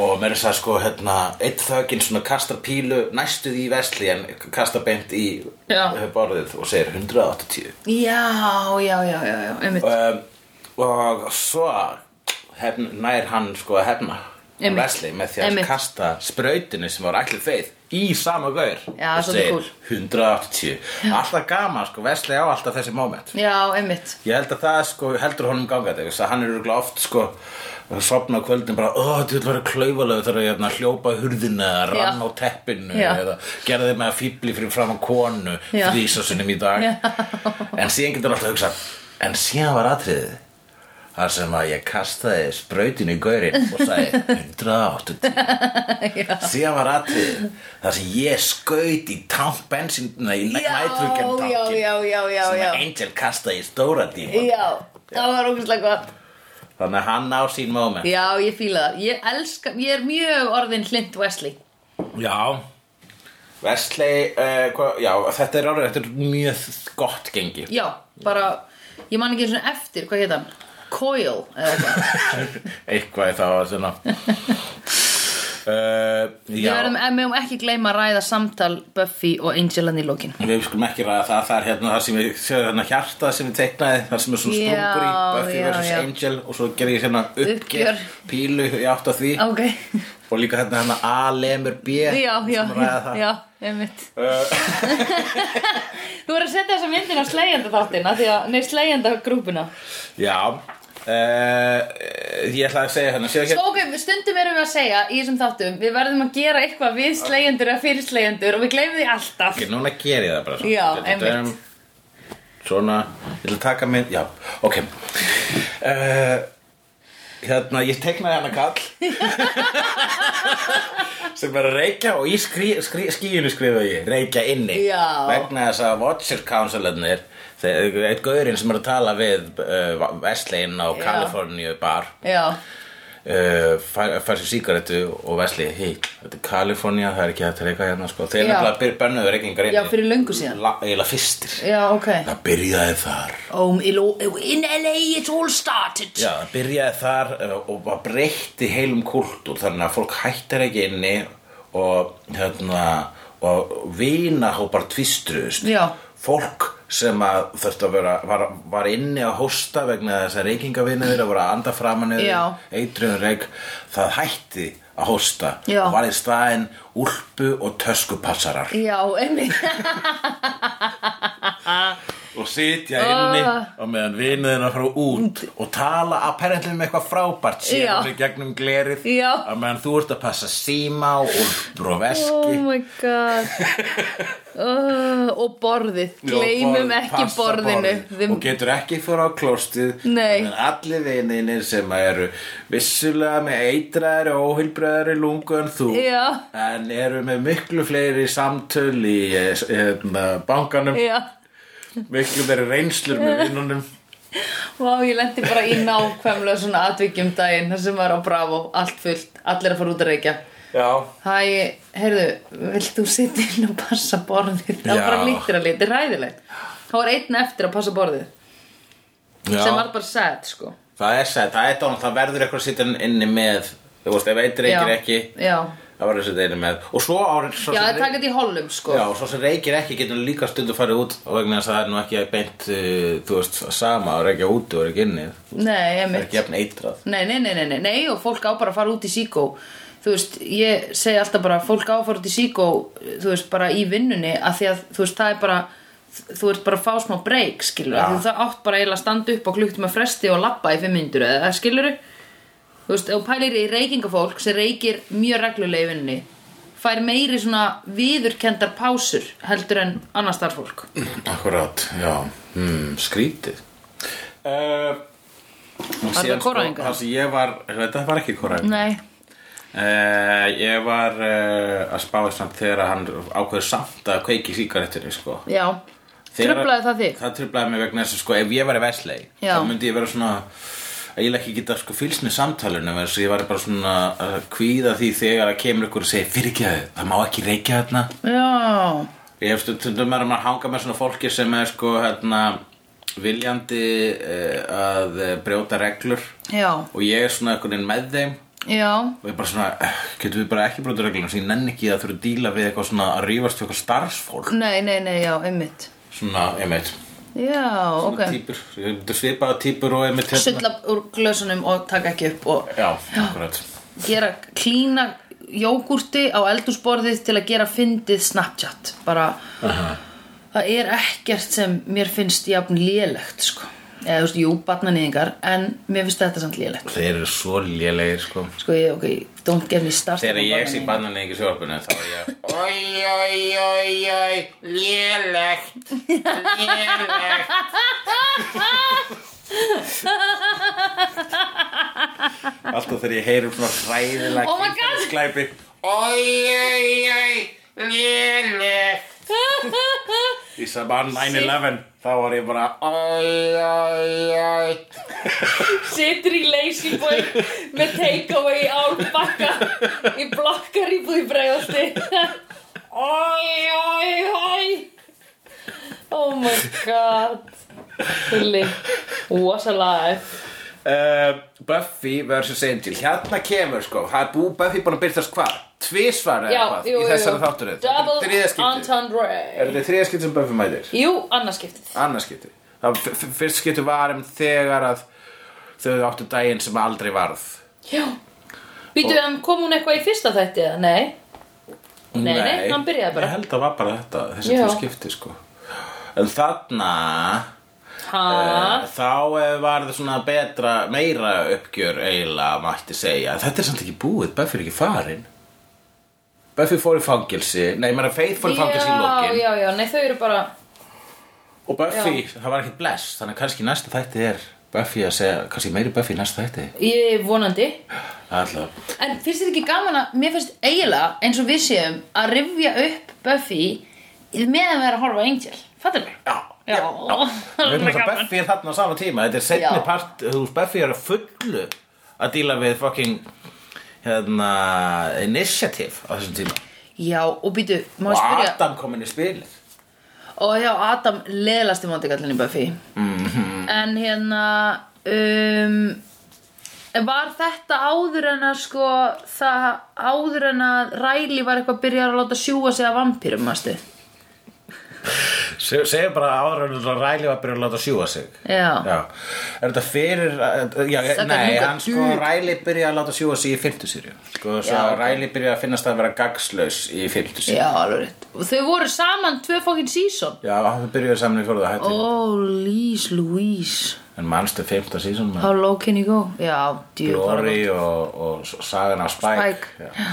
B: og mér er það sko hérna eitt þögginn svona kastar pílu næstuð í Vesli en kastar beint í
A: Já.
B: borðið og segir 180
A: já, já, já, já, já Einmitt,
B: um, og svo hefn, nær hann sko að hefna
A: Einmitt.
B: Wesley með því að
A: Einmitt.
B: kasta sprautinu sem var allir feið í sama gaur
A: Já,
B: og
A: svolítið kúl.
B: 180 alltaf gaman sko, Wesley á alltaf þessi moment
A: já, einmitt
B: ég held að það sko heldur honum gangað þess að hann er örugglega oft sko sopna á kvöldin bara, ó, þú vil vera klaufalegu þegar ég hérna, hljópa hurðina eða
A: Já.
B: rann á teppinu
A: Já.
B: eða gerði með að fýbli fyrir fram á konu
A: Já.
B: þrísasunum í dag
A: Já.
B: en síðan getur alltaf að hugsa en síðan var atriðið þar sem að ég kastaði sprautinu í gaurinn og sagði 180 síðan var atriðið þar sem ég skaut í tank bensín, nei,
A: já,
B: nætrugjan
A: já, já, já, já,
B: sem
A: já
B: að Angel kastaði í stóra díma
A: Já, það var ógæslega gott
B: þannig að hann á sín moment
A: Já, ég fíla það Ég elska, ég er mjög orðin Clint Wesley
B: Já Wesley, uh, hva, já, þetta er árið, þetta er mjög gott gengi
A: Já, bara, ég man ekki einu sinni eftir, hvað heit hann? Coil, eða eitthvað
B: Eitthvað í þá að svona uh,
A: Við
B: Já,
A: verðum, en við höfum ekki gleyma að ræða samtal Buffy og Angel hann í lókin
B: við skulum ekki ræða það, það er hérna það sem ég, séu hérna hjarta sem ég teiknaði, það sem er svona
A: Já,
B: strungur í Buffy
A: já,
B: versus
A: já.
B: Angel og svo gerði ég hérna uppgjör,
A: Uppgjör.
B: pílu í átt að því
A: Ok,
B: og líka hérna hérna A, lemur, B
A: já, já,
B: sem
A: já,
B: ræða það.
A: já, einmitt Uh. Þú verður að setja þessa myndin á slegjanda þáttina því að, nei, slegjanda grúpuna
B: Já uh, Ég ætla að segja hérna Sér
A: Sko, ok, stundum erum við að segja í þessum þáttum Við verðum að gera eitthvað við slegjendur eða fyrir slegjendur og við gleymum því alltaf
B: ekki, núna ger ég það bara svona.
A: Já,
B: Þetta er
A: einmitt.
B: um, Svona, ég ætla að taka mynd Já, ok uh, Hérna, ég teknaði hana kall sem er að reykja og í skrí, skrí, skíinu skrifa ég reykja inni
A: Já.
B: vegna þess að Watcher Councilernir þegar eitt gaurinn sem er að tala við uh, Veslein á
A: Já.
B: Kaliforníu bar
A: Já,
B: uh, fær, fær sér sígarettu og Vesli, hei, þetta er Kalifornía það er ekki hægt að reyka hérna sko þeir
A: Já.
B: nefnilega byrja bönnuðu reykingar
A: Já, fyrir löngu síðan.
B: eiginlega fyrstir
A: já, ok
B: það byrjaði þar
A: Um, in LA it's all started
B: Já, það byrjaði þar eh, og bara breytti heilum kultúr þannig að fólk hættar ekki inni og hérna og vinahópar tvistruðust
A: Já.
B: fólk sem að þurfti að vera var, var inni að hósta vegna þess að reykingavinni þeirra voru að anda framan
A: Já.
B: yfir eitriðun reyk, það hætti að hósta
A: Já.
B: og var í staðinn úlpu og töskupassarar
A: Já, einmitt
B: og sitja inni
A: Ah.
B: og meðan vinuðin að fara út og tala apparently með eitthvað frábært
A: Já.
B: sér í gegnum glerið
A: Já.
B: að meðan þú ert að passa síma og broveski
A: Oh my god oh, Og borðið Gleimum ekki borðinu Þeim,
B: og getur ekki fór á klostið
A: Nei.
B: en allir vininir sem eru vissulega með eitraðari og óhylbraðari lungu en þú
A: Já.
B: en eru með miklu fleiri samtöl í eh, s- hérna, bankanum
A: Já
B: miklu meiri reynslur með vinnunum
A: Vá, ég lendi bara í nákvæmlega svona atvikjum daginn þar sem var á Bravo, allt fullt, allir að fara út að reykja
B: já,
A: Hæ, heyrðu, vilt þú sitja inn og passa borðið? Það var
B: Já.
A: bara lítir að lítið, ræðilegt Það var einn eftir að passa borðið
B: já.
A: sem var bara sad, sko
B: það er sætt, það er dán það verður eitthvað að sitja inni með þú veist, ef eitt reykir
A: Já.
B: ekki
A: Já,
B: það verður að sitja inni með og svo árið svo
A: já
B: sem
A: það er takkt í hollum, sko
B: Já, og svo sem reykir ekki getur líka stundu farið út og vegna þess að það er nú ekki beint uh, þú veist, sama að reykja úti og reykja inni það
A: Nei,
B: er
A: emitt
B: ekki jafn eitrað
A: nei, nei, nei, nei, nei, nei, og fólk á bara að fara út í síkó þú veist, ég segi alltaf bara fólk á að fara út í síkó þú veist, bara í vinnunni að því að, þú veist, það er bara þú ert bara að fá smá break, skilur
B: Já.
A: ja. það átt bara eiginlega að standa upp og klukkt með fresti og labba í fimm myndur, eða skilur þú veist, ef þú pælir í reykingafólk sem reykir mjög reglulega í vinnunni fær meiri svona viðurkendar pásur heldur en annars starfólk
B: Akkurát, já, hmm, skrítið uh,
A: Var það kóræfingar?
B: Það sem ég var, þetta var ekki koræðingar
A: Nei,
B: uh, Ég var uh, að spáði samt þegar hann ákveður samt að kveiki síkarettinu sko.
A: já
B: Þegar-
A: Truflaði það þig?
B: Það trublaði mig vegna þess að sko, ef ég væri veslei
A: Já.
B: þá myndi ég vera svona að ég ekki geta sko fylgst með samtalinu þess að ég væri bara svona að kvíða því þegar að kemur ykkur og segir fyrirgjöðu, það má ekki reykja þarna
A: Já,
B: ég hef stundum er að maður hanga með svona fólki sem er sko hérna viljandi uh, að eh, brjóta reglur
A: já,
B: og ég er svona einhvern veginn með þeim
A: já
B: og ég bara svona, eh, getum við bara ekki brjóta reglum sem ég nenni ekki að þurfa að díla við eitthvað svona að rífast við eitthvað starfsfólk
A: Nei, nei, nei, já, einmitt
B: svona, ég meit
A: Já, ok
B: típur, þetta er svipaða típur og einmitt hérna.
A: Sulla úr glösunum og taka ekki upp og
B: Já, akkurat
A: gera klína jógurti á eldúsborðið til að gera fyndið Snapchat bara, það er ekkert sem mér finnst jafn lélegt sko. eða þú veist, jú, barnanýðingar en mér finnst þetta samt lélegt
B: Þeir eru svo lélegir sko
A: sko, ég, ok, don't get me started
B: Þegar
A: on
B: ég sé
A: barnaníðingar.
B: bannan ekki sjálfinu þá er ég Oi, oi, oi, oi, lélegt Lélegt Alltaf þegar ég heyrum svona hræðilega
A: Oh my god.
B: kynferðisglæpi. Oi, oi, oi, lélegt Í saman 9-11 þá var ég bara Oi, oi, oi
A: situr í lazy boy með takeaway álbakka í blokkar í búið bregðalti Oi, oi, oi Oh my god Hulli What's alive
B: uh, Buffy vs. Angel hérna kemur sko, það er bú, Buffy búin að byrtast hvar? tvisvar eða
A: Já,
B: hvað
A: jú,
B: í
A: jú,
B: þessari
A: jú.
B: þátturinn þetta er
A: Double
B: þriðaskipti er
A: entendre
B: þetta þriðaskipti sem Buffy mætir?
A: Jú, annarskiptið
B: annarskipti það f- f- fyrst skipti var um þegar að þau áttu daginn sem aldrei varð
A: Já Býtu, en kom hún eitthvað í fyrsta þætti eða? Nei Nei, nei, hann byrjaði bara.
B: ég held að var bara þetta, þessi
A: Já.
B: tvö skipti sko en þarna
A: Ha?
B: eh, þá eh, var það svona betra meira uppgjör eiginlega mætti segja, þetta er samt ekki búið Buffy er ekki farin Buffy fór í fangelsi, nei, maður að Faith fór í fangelsi í
A: Já,
B: lokin
A: já, já, nei, þau eru bara
B: og Buffy, það var ekki bless þannig að kannski næsta þætti er Buffy að segja, kannski meiri Buffy í næsta þætti
A: Ég vonandi
B: alltaf
A: En finnst þér ekki gaman að, mér finnst eiginlega eins og við séum að rifja upp Buffy meðan við erum að horfa á Angel Fattar við?
B: Já,
A: Já,
B: Við
A: það
B: erum
A: er
B: þess að
A: gaman
B: Buffy er þarna á sama tíma Þetta er setni
A: Já.
B: part, þú veist Buffy er að fullu að díla við fucking hérna, initiative á þessum tíma
A: Já, og býtu, má
B: og
A: ég spyrja
B: Adam komin í spilið
A: Og já, Adam leðlasti mótikallin í Buffy En hérna um, Var þetta áður en að sko það áður en að Riley var eitthvað byrjar að láta sjúga sig að vampýrum, mástu?
B: Se- Segðu bara áður en þú ræli var byrjað að láta sjúga sig
A: Já.
B: Er þetta fyrir eh, já,
A: Þetta er
B: Nei,
A: líka
B: hann sko
A: dug.
B: ræli byrjað að láta sjúga sig í 50 sýrju Sko, svo
A: Já.
B: ræli byrjað að finnast að vera gagslaus í 50 sýrju
A: Já, alveg rétt Og þau voru saman tvö fókin season
B: Já, það byrjuðu saman í fjórða hætti
A: Oh, Lise Louise
B: En manstu 15 sísón með
A: How low can you go? Já, djú
B: Glory og, og sagan af Spike,
A: Spike.
B: Já.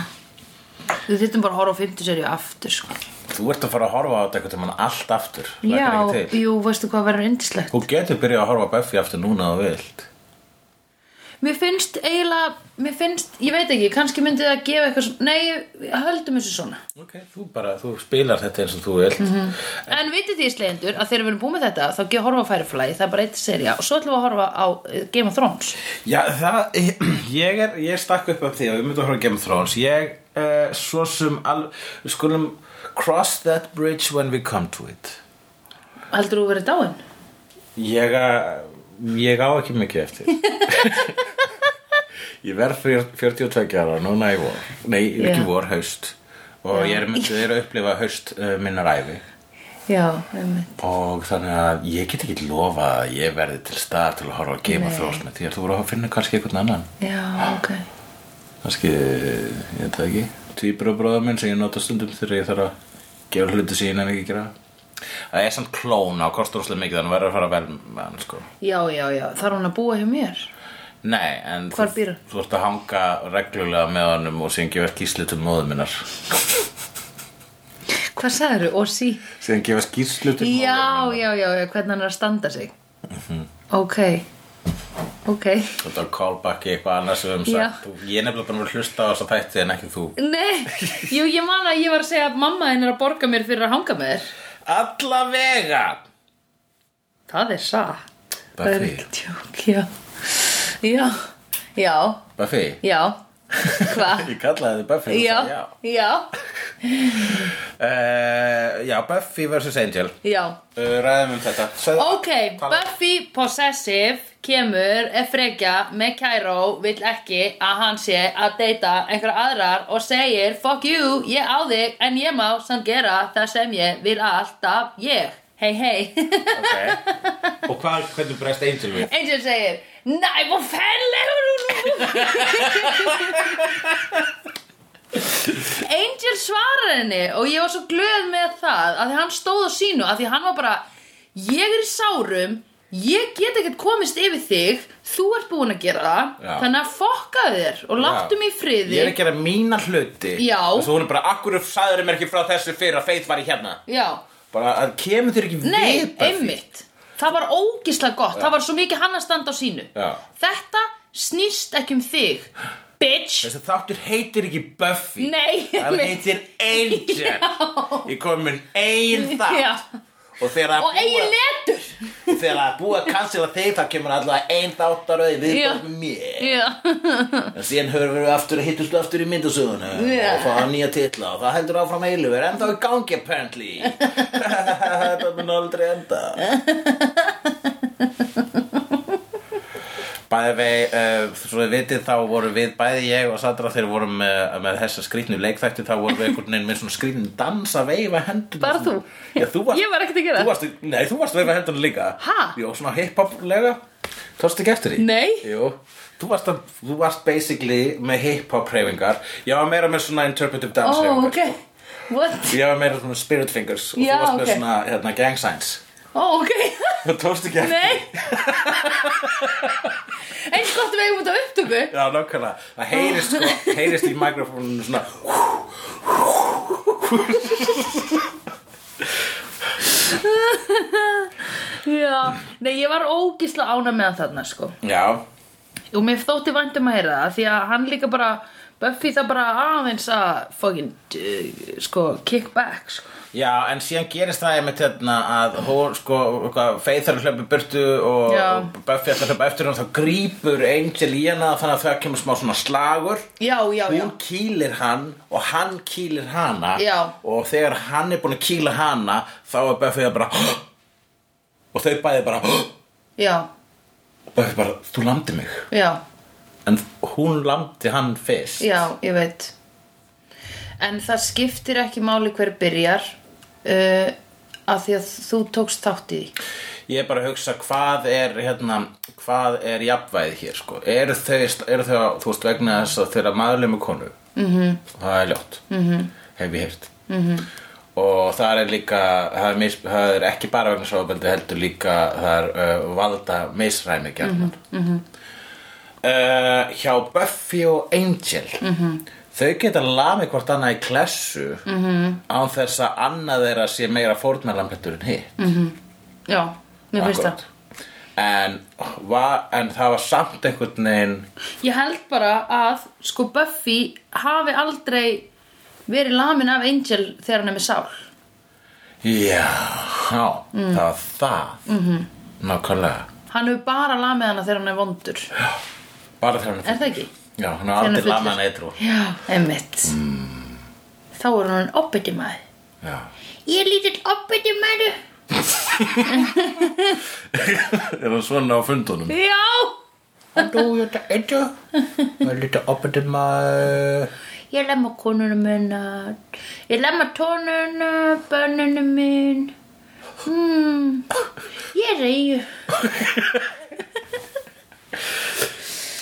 A: Við þyrftum bara að horfa á 50 serið aftur sko.
B: Þú ert að fara að horfa á þetta einhvern veginn allt aftur Það
A: Já,
B: er ekki til.
A: jú, veistu hvað verður indislegt
B: Þú getur byrjað að horfa á Buffy aftur núna og vilt
A: Mér finnst eiginlega, mér finnst, ég veit ekki, kannski myndi það að gefa eitthvað svona Nei, höldum þessu svona
B: Ok, þú bara, þú spilar þetta eins og þú vilt
A: Mhm. En vitið því slegjendur að þegar við erum búin með þetta þá gefa horfa á Firefly, það er bara eitt serið og svo ætlum við að horfa á eh, Game of Thrones
B: Já, það, ég er, ég stakk upp af því að við myndum að horfa á Game of Thrones Ég, uh, svo sem, al, við skulum cross that bridge when we come to it
A: Heldur þú verið dáin?
B: Ég, eh, ég á ekki mikið eftir Ég verð fyr- 42 ára núna í vor Nei, ekki
A: Já.
B: vor, haust Og ég er myndið að upplifa haust uh, minnar æfi
A: Já, einmitt
B: Og þannig að ég get ekki lofa að ég verði til staðar til að horfa að geima
A: Nei.
B: þrósmið Því að þú voru að finna kannski einhvern annan
A: Já, ok
B: Kannski, ég veit það ekki Tvíbröbróða minn sem ég nota stundum þegar ég þarf að gefa hluti sín en ekki að gera Það er samt klón á kostur úrslega mikið þannig verður að fara vel með hann sko
A: Já, já, já, þarf hún að búa hjá mér?
B: Nei, en
A: Hvar
B: þú-
A: býr hann?
B: Þú ert að hanga reglulega með honum og síðan gefa skýrslu til móður minnar
A: Hvað sagður þú? Ossi?
B: Síðan gefa skýrslu til Mhm.
A: Já,
B: móður
A: já, já, já, hvernig hann er að standa sig Ok Ok
B: Þú ert að callbacki eitthvað annars sem við
A: Já.
B: höfum sagt Ég er nefnilega búin að vera að hlusta á þessa þætti en ekki þú
A: Nei, jú, ég man að ég var að segja að mamma þinn er að borga mér fyrir að hanga með þér
B: Alla vega
A: Það er satt Það er
B: Buffy.
A: ekki tjók, já Já, já,
B: Buffy
A: já Hva?
B: Ég kallaði þið Buffy þú
A: Já,
B: sagði
A: já,
B: Eh, já, Buffy vs Angel
A: já
B: uh, Ræðum um þetta Sæð,
A: Ok, Buffy Possessive kemur, er frekja með Kæró, vill ekki að hann sé að deyta einhverja aðrar og segir, fuck you, ég á þig en ég má samt gera það sem ég vil alltaf ég hei hei,
B: Og hvað, hvernig bregst Angel við?
A: Angel segir næ, hvor fennlegur hún Angel svarar henni og ég var svo glöð með það að því hann stóð á sínu að því hann var bara ég er í sárum ég get ekkert komist yfir þig þú ert búin að gera það
B: Já.
A: þannig að fokkaðu þér og láttu
B: Já.
A: mig í friði
B: Ég er að gera mína hluti
A: Já.
B: Og svo hún er bara, akkur sagður mér ekki frá þessu fyrir að Faith var í hérna
A: já,
B: Bara, að kemur þér ekki
A: nei,
B: við Buffy?
A: einmitt það var ógislega gott, það var svo mikið hann að standa á sínu
B: Já.
A: þetta snýst ekki um þig bitch
B: Þessi þáttur heitir ekki Buffy
A: Nei,
B: Það
A: einmitt.
B: heitir Angel Já. Ég kom með eigin þátt
A: Já.
B: Og þegar að
A: og eigin
B: búa,
A: letur
B: þegar að búa cancela þeir þá kemur alltaf ein þáttaröði
A: Já.
B: viðbótt með mér
A: Já,
B: En síðan höfum við aftur að hittust aftur í myndasögunu
A: Já.
B: og fá nýja titla og það heldur áfram eilu er ennþá í gangi apparently Þetta mun aldrei enda Bæði vei, uh, svo þið vitið þá vorum við, bæði ég og Sandra þegar við vorum með, með þessa skrýtnu leikþætti þá vorum við einhvern veginn með svona skrýtnu dans að veifa hendur
A: Bara þú?
B: Já, þú varst,
A: Ég var ekkert að gera.
B: þú varst, Nei, þú varst að veifa hendur líka
A: Ha?
B: Jó, svona hip-hop-lega Tókstu ekki eftir því?
A: Nei.
B: Jú, þú varst, að, þú varst basically með hip-hop hreyfingar Ég var meira með svona interpretive dance
A: ó,
B: hreyfingar
A: ok What?
B: Ég var meira svona spirit fingers og
A: Já,
B: þú varst með
A: ok.
B: svona hérna, gang signs
A: Ó, ok
B: Það tókst ekki eftir
A: Nei Eins gott við eigum út á upptöku
B: Já, nákvæmlega, það heyrist, sko, heyrist í mikrofónunum svona
A: Já, nei, ég var ógisla ána með hann þarna, sko
B: Já,
A: Og mér þótti vænt um að heyra það Því að hann líka bara Buffy það bara aðeins að Fucking, uh, sko, kick back sko.
B: já, en síðan gerist það einmitt hérna að hún, sko, hvað, Faith þarf að hlaupa í burtu og,
A: Já.
B: og Buffy ætlar að hlaupa eftir hún þá grípur Angel í hana þannig að það kemur smá svona slagur
A: Já, já, já
B: hún kýlir hann og hann kýlir hana
A: Já.
B: og þegar hann er búin að kýla hana þá er Buffy að bara og þau bæði bara og
A: Já,
B: Buffy bara, þú landi mig
A: já
B: en hún landi hann fyrst
A: Já, ég veit En það skiptir ekki máli hver byrjar uh, af því að þú tókst þátt í því
B: Ég er bara að hugsa hvað er hérna, hvað er jafnvæði hér sko eru þau, eru þau þú veist vegna þess að þeirra maðurlega með konu -hmm. það er ljótt -hmm. hef ég heyrt -hmm. og það er líka það er, mis, það er ekki bara vegna sáfabeldi heldur líka það er uh, valda misræmi gjarnan mm -hmm. uh, hjá Buffy og Angel -hmm. þau geta lamið hvort annað í klessu -hmm. án þess að annað þeirra sé meira fórnarlambettur en hitt
A: já, mér finnst
B: Akkurat.
A: það
B: En, var, en það var samt einhvern veginn
A: Ég held bara að sko Buffy hafi aldrei verið lamin af Angel þegar hann er með sál.
B: Já,
A: Mm.
B: það var það
A: Mhm.
B: -hmm. Nákvæmlega
A: Hann hefur bara lamið hana þegar hann er vondur.
B: Bara þegar hann
A: Er það ekki?
B: Já, hann
A: Þegar
B: var
A: hann er
B: aldrei
A: fullur.
B: laman eitrú
A: Já, einmitt.
B: Mm.
A: Þá er hann opbytti maður.
B: Já,
A: Ég er lítill opbytti maður.
B: er hann svona á fundunum?
A: Já,
B: Halló, ég ætla eitrú Það er lítið opið maður
A: ég lemma konunum minna. Ég lemma tónuna, bönnunum minn. Hmm, ég er reyju.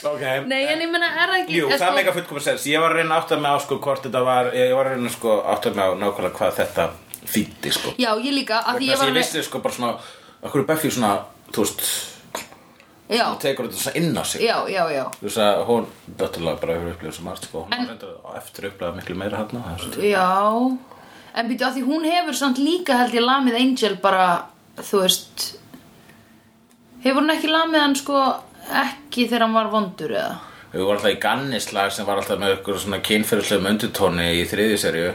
B: Ok
A: Nei, en ég menna er það ekki.
B: Jú,
A: er
B: það
A: sko-
B: meika fullkomu sens Ég var að reyna að átta mig á sko hvort þetta var Ég var að reyna sko að átta mig á nákvæmlega hvað þetta þýtti sko
A: Já, ég líka, að því ég
B: Vegna þess að
A: var
B: ég vissi sko bara svona Akkur er Buffy svona, þú veist
A: með... Já,
B: Hún tekur þetta svona inn á sig
A: já, já, já.
B: Þú veist að hún, dotturlega bara hefur upplifað sem margt sko, hún en, reyndar eftir upplifað miklu meira hann á þessu
A: Já, en býtu að því hún hefur samt líka held ég lamið Angel bara, þú veist Hefur hún ekki lamið hann sko ekki þegar hann var vondur eða?
B: Við vorum alltaf í gannislag sem var alltaf með ykkur svona kynferðislegum undirtóni í þriðju serju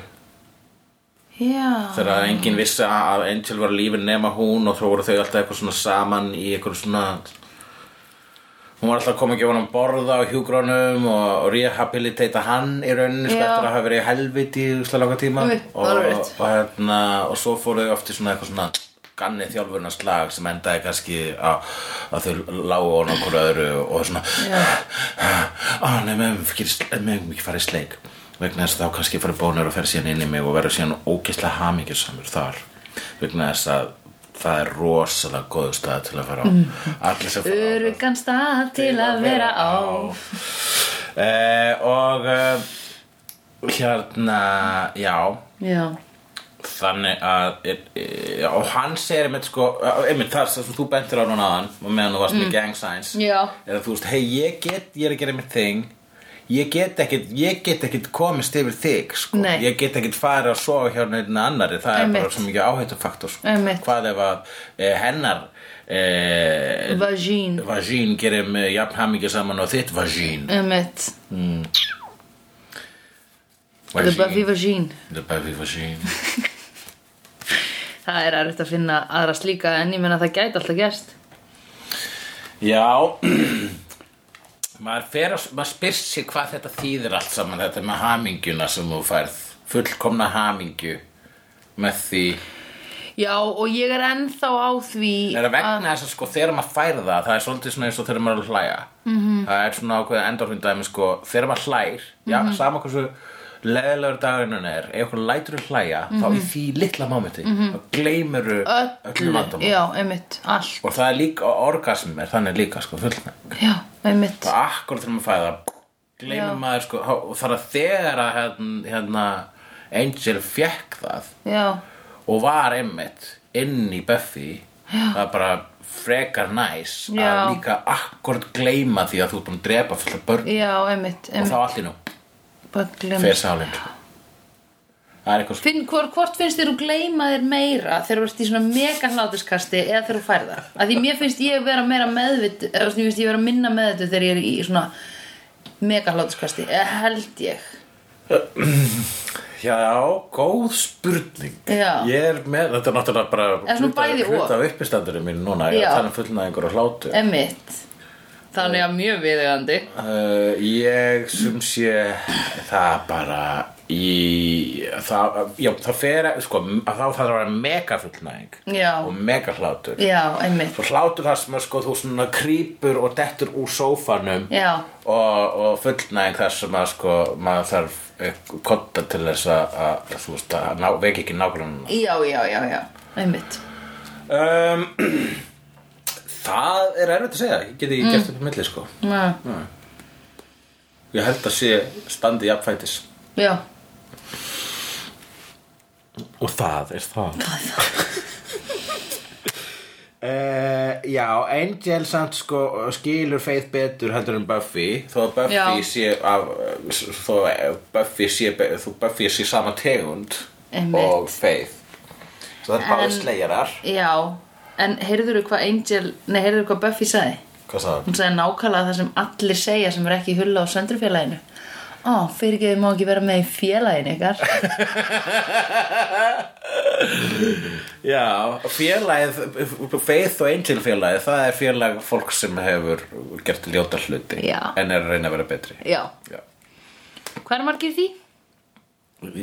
A: Já,
B: þegar að enginn vissi að Angel var lífin nema hún og þó voru þau alltaf eitthvað svona saman í eitthvað svona hún var alltaf að koma að gefa hann að borða á hjúgrónum og, og rehabilitata hann í rauninni sko
A: Já.
B: eftir að hafa verið í helviti í úslega langa tíma
A: Einmitt,
B: og,
A: það er
B: og,
A: rétt.
B: hérna, og svo fóru þau oft í svona eitthvað svona ganni þjálfurna slag sem endaði kannski að, að þau lágu og nokkur öðru og svona að nei, meðum ekki farið sleik vegna þess að þá kannski farið bónur og fer síðan inn í mig og verður síðan ógeðslega hamingjusamur þar vegna þess að það er rosalega góðu stað til að fara á allir sem fara á
A: örugan stað til að Mhm. vera á
B: Eh, og eh, hérna já
A: Já,
B: þannig að e, e, og hann segir einmitt sko einmitt þar sem þú bentir á núna aðan og meðan þú varst með gang signs
A: Mm. Já.
B: er að þú veist, hei ég get, ég er að gera einmitt þing ég get ekkit, ég get ekkit komist yfir þig sko.
A: Nei.
B: ég get ekkit farið að sofa hjá neitt annari það er
A: Einmitt.
B: bara svo mikið áhættufaktor sko.
A: Einmitt.
B: hvað ef að e, hennar e,
A: vagín
B: vagín gerir með jafn hamingja saman og þitt vagín
A: Emmett, the Buffy vagín
B: The Buffy Vagine
A: Það er erfitt að finna aðra slíka en ég menna það gæti alltaf gerst
B: Já maður, fer, að- maður spyr sig hvað þetta þýðir allt saman þetta með hamingjuna sem þú færð fullkomna hamingju með því
A: Já, og ég er ennþá á því
B: er að vegna þess að sko þegar maður fær það það er svolítið svona eins og þegar maður er að hlæja
A: Mhm.
B: -hmm. það er svona ákveða endorfindæmi sko þegar maður hlær, já,
A: Mhm.
B: sama hversu leðilegur dagurinn er ef okkur lætur að hlæja, þá í því litla momenti þá
A: Mhm.
B: gleymuru
A: öllu,
B: öllum vandamál
A: já, Emmett, allt
B: og það er líka, og orgasm er þannig líka sko fullna
A: Já, Emmett
B: og akkur þegar maður fæði það
A: Já.
B: gleymir maður sko há- og þar að þegar að hérna, hérna Angel fekk það
A: Já,
B: og var einmitt inn í Buffy Já. það er bara frekar næs að
A: Já.
B: líka akkur gleyma því að þú er búin að drepa fullt af börn
A: já, einmitt,
B: og
A: einmitt
B: þá allir nú
A: bara gleym-
B: fer sálinn sko. það er eitthvað svo
A: Finn, hvort, hvort finnst þér þú gleyma þér meira þegar þú ert í svona mega hláturskasti eða þegar þú færða? Að því mér finnst ég vera meira meðvitt, eða þú veist, mér finnst ég vera minna meðvitt þegar ég er í svona mega hláturskasti, eða held ég.
B: Já, góð spurning
A: Já.
B: Ég er með, þetta er náttúrulega bara
A: Eða svona
B: hluta-
A: bæði og.
B: hluta af uppistandurinn mín núna Ég er
A: Já.
B: að tala um fullnæðingur og hlátu
A: Emmitt. Þannig að mjög viðegandi.
B: Uh, ég sem sé það bara í það, já, það fer sko, að þá þarf að vera mega fullnæðing
A: Já.
B: og mega hlátur
A: Já, emmitt.
B: svo hlátur það sem að sko þú svona krýpur og dettur úr sófanum
A: Já.
B: og, og fullnæðing þar sem að sko maður þarf eh, kodda til þess að, að þú veist að ná, veki ekki nákvæmlega
A: Já, já, já, já. einmitt
B: um, Það er erfitt að segja Ég geti ekki
A: Mm.
B: gert upp á milli sko
A: Næ,
B: Ég held að sé standi jafnfætis
A: já,
B: Og það er það Það er það Eh, já, Angel samt sko skilur Faith betur heldur en Buffy þó að Buffy
A: Já.
B: sé af, þó að Buffy sé, þó Buffy sé sama tegund
A: Einmitt.
B: og Faith svo það er
A: En-
B: báðið slegjarar
A: já En heyrðurðu hvað Angel, nei heyrðurðu hvað Buffy sagði?
B: hvað sagði
A: Hún sagði nákvæmlega það sem allir segja sem er ekki í hulla á söndrufélaginu Ó, fyrir ekki þið má ekki vera með í félaginu ykkar
B: já, félagið Faith og Angel félagið það er félag fólk sem hefur gert ljóta hluti
A: Já.
B: en er að reyna að vera betri
A: Já,
B: já.
A: hvað er margir í því?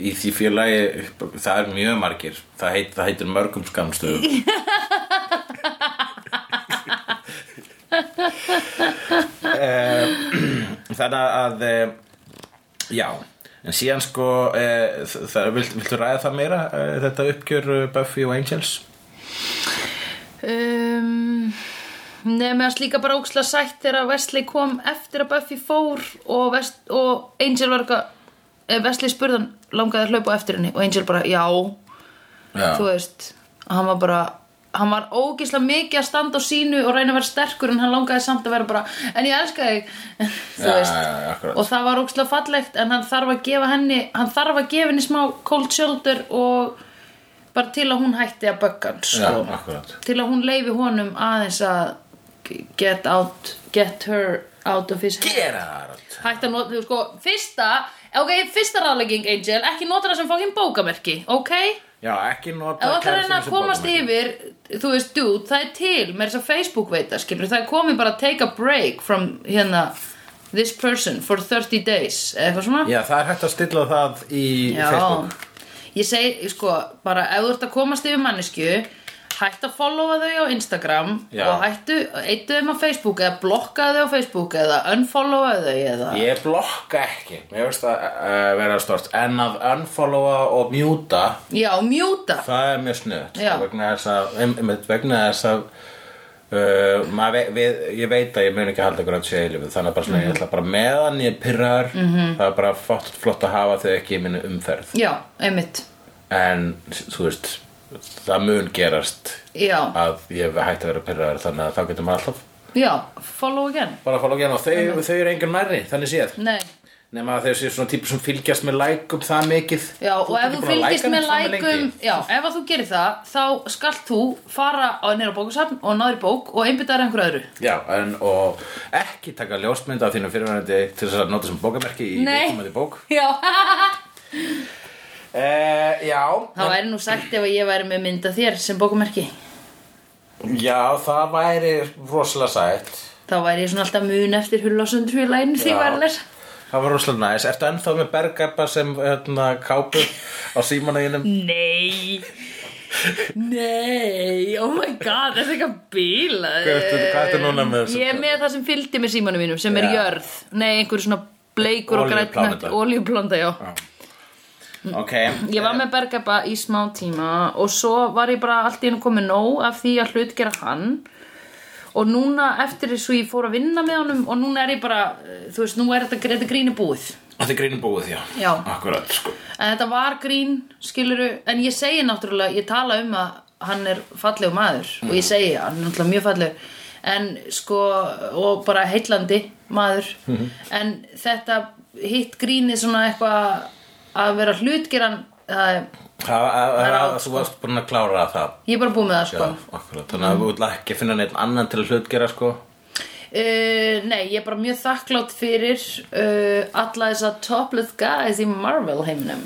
B: Í því félagi, það er mjög margir Það, heit, það heitir mörgum skamstöðum Eh, Þannig að eh, Já En síðan sko eh, það, vilt, Viltu ræða það meira eh, Þetta uppgjör eh, Buffy og Angels
A: Um, Nei, meðan slíka bara óksla sætt þegar Wesley kom eftir að Buffy fór og, West, og Angel var eitthvað eh, Wesley spurðan langaði að hlaupa á eftir henni og Angel bara, já,
B: Já,
A: þú veist hann var bara, hann var ógislega mikið að standa á sínu og reyna að vera sterkur en hann langaði samt að vera bara, en ég elska þig þú
B: Já,
A: veist
B: já, já, akkurat.
A: og það var ógislega fallegt en hann þarf að gefa henni hann þarf að gefa henni smá cold shoulder og bara til að hún hætti að bögga hann
B: já
A: sko
B: akkurat
A: til að hún leifi honum aðeins að get out get her out of his head
B: Gera það Harald.
A: hægt að nota, þú sko, fyrsta ok, fyrsta ráðlegging Angel ekki nota það sem fókin bókamerki, ok ef
B: Já, ekki nota
A: þú ætlar að
B: kærastinn
A: reyna að
B: sem
A: komast
B: bókamarkið.
A: yfir þú veist, dude, það er til með þess að Facebook veita, skilur, það er komið bara take a break from, hérna this person for 30 days eða eitthvað svona
B: Já, það er hægt að stilla það í Facebook
A: Ég segi, sko, bara ef þú ert að komast yfir manneskju hættu að followa þau á Instagram
B: Já.
A: og hættu, eittu þeim á Facebook eða blokka þau á Facebook eða unfollowa þau eða
B: Ég blokka ekki, mér finnst það uh, vera stort En að unfollowa og mjúta
A: Já, mjúta
B: Það er mjög snuðt
A: Já.
B: Vegna þess að, em- einmitt vegna þess að Uh, maður ve við, ég veit að ég mun ekki halda ykkur að sé í lífið þannig að bara svona,
A: Mhm.
B: ég ætla bara meðan ég pyrrar -hmm. það er bara flott, flott að hafa þau ekki í minni umferð
A: Já, einmitt
B: en þú veist það mun gerast
A: Já,
B: að ég hætti að vera pyrrar þannig að þá getur maður alltaf
A: já, follow again
B: bara að fóla og þau, þau eru engum nærri þannig séð
A: Nei,
B: Nefna að þeir séu svona típur sem fylgjast með lækum það mikið
A: já, og ef
B: ert ekki
A: þú
B: búin að
A: fylgist
B: læka
A: með
B: hann saman
A: lækum
B: lengi.
A: Já, ef að þú gerir það þá skalt þú fara á nýra bókusafn og náður í bók og einbyttaður einhverju öðru
B: Já, en, og ekki taka ljósmynd af þínu fyrirværendi til þess að nota sem bókamerki í
A: Nei.
B: viðkomandi bók
A: Já,
B: eh, Já
A: það væri nú sagt ef að ég væri með mynda þér sem bókumerki
B: Já, það væri rosalega sætt
A: Þá væri ég svona alltaf mun eftir hullásundrúilæginu því
B: Já.
A: ég var að lesa.
B: Það var rosalega næs Ertu ennþá með bergabba sem hérna, kápu á símanæginum?
A: Nei, nei, oh my god, það er eitthvað bíla.
B: Hvað ertu- hvað ertu núna með þessu?
A: Ég er með það sem fylgdi með símanum mínum sem er
B: Já.
A: jörð. Nei, einhver svona bleikur og
B: Olíupláneta.
A: grænögt oljuplanda, já. Mm.
B: Ok
A: Ég var með Bergabba í smá tíma og svo var ég bara allt í hennu komið nóg af því að hlutgera hann og núna eftir þessu ég fór að vinna með honum og núna er ég bara, eh, þú veist, nú er þetta, þetta gríni búið.
B: Þetta er grínum búið, já
A: Já.
B: Akkurat, sko
A: En þetta var grín, skiluru, en ég segi náttúrulega, ég tala um að hann er fallegu maður og ég segi að hann er náttúrulega mjög fallegu en sko, og bara heillandi maður en þetta hitt grínið svona eitthvað að vera hlutgeran það er,
B: Það það-
A: er á,
B: það- Þú varst búin að klára það
A: ég er bara búið með það
B: Já,
A: sko
B: akkurat, þannig að þú vilt ekki finna neitt annan til að hlutgera sko
A: uh, Nei, ég er bara mjög þakklátt fyrir uh, alla þess að topless guys í Marvel heiminum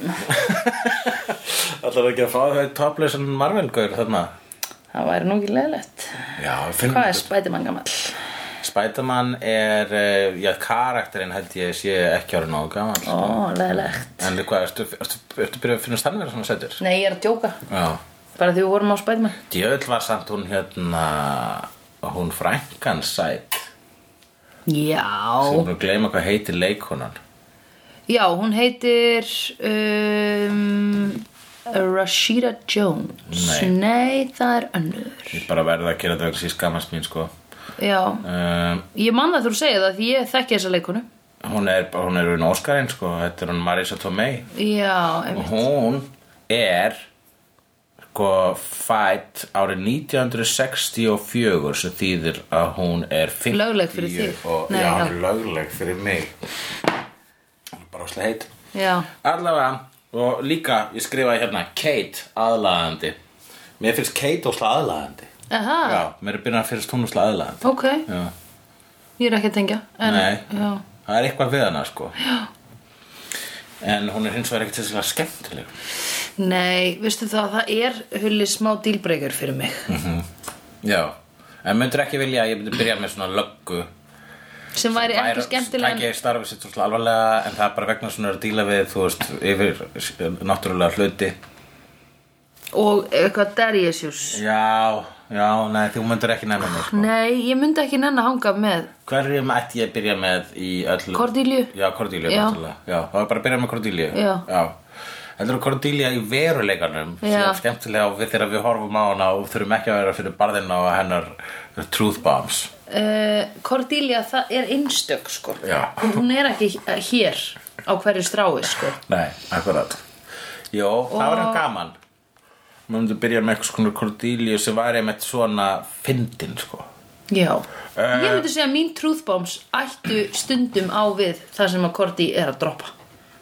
B: Allar ekki að fá þau topleysan Marvel-gaur þarna
A: Það væri nú ekki leðlegt
B: Já, við finnum
A: Hvað er
B: þetta.
A: Spiderman gamall?
B: Spiderman er, eh, já, karakterinn held ég sé ekki árið nógu gaman
A: Ó, leðlegt
B: En hvað, ertu, ertu, ertu byrjuð að finnast hann vera svona sætur?
A: Nei, ég er að djóka
B: Já
A: Bara því við vorum á Spiderman
B: Djöðl var samt hún hérna, hún frænkan sæt
A: Já
B: Hún er að gleyma hvað heitir leikonan
A: Já, hún heitir um, uh, Rashida Jones
B: Nei.
A: það er önnur
B: Ég bara verða að gera þetta vegna síðan skammast mín sko
A: Já,
B: um,
A: ég man það þú segir það því ég þekki þessa leikonu
B: Hún er, hún er hún Óskarinn sko Þetta er hún Marisa Tomei
A: Já, einmitt.
B: Og hún er sko fætt árið 1964 sem þýðir að hún er 50
A: Lögleg fyrir þig.
B: og,
A: Nei,
B: Já,
A: já.
B: hún er lögleg fyrir mig Hún er bara óslega heit
A: já,
B: Allavega, og líka ég skrifaði hérna Kate aðlaðandi Mér finnst Kate óslega aðlaðandi
A: aha,
B: Já, mér er byrjað að finnst hún óslega aðlaðandi
A: Ah. ok
B: Já
A: Ég er ekki að tengja en,
B: Nei.
A: já.
B: Það er eitthvað við hana sko Já En hún er hins vegar ekkert sérstaklega skemmtileg
A: Nei, veistu það, það er hulli smá dílbreykar fyrir mig
B: Já En myndir ekki vilja að ég myndi byrja með svona löggu
A: sem væri ekki skemmtilega
B: Tæki starfið sitt svolítið alvarlega En það er bara vegna svona er að díla við Þú veist, yfir eh, náttúrulega hluti
A: og eitthvað derjesjús
B: Já, já, nei, þú myndir ekki nefna mig sko
A: Nei, ég myndi ekki nenn að hanga með
B: Hverjum ætti ég að byrja með í öllu
A: Cordelia
B: Já, Cordelia,
A: Já.
B: náttúrulega Já, það var bara að byrja með Cordelia
A: Já.
B: já. Heldur þú Cordelia í veruleikanum
A: Já.
B: sem er skemmtilega og við þegar við horfum á hana og þurfum ekki að vera fyrir barðina og hennar truth bombs
A: uh, Cordelia, það er einstök sko
B: Já.
A: og hún er ekki hér á hverju strái sko
B: Nei, akkurat Jó, það var hann gaman Mér myndi byrja með eitthvað svona Cordelia sem væri með svona fyndin sko
A: Já, ég myndi segja að mín trúðbáms ættu stundum á við það sem að Korti er að droppa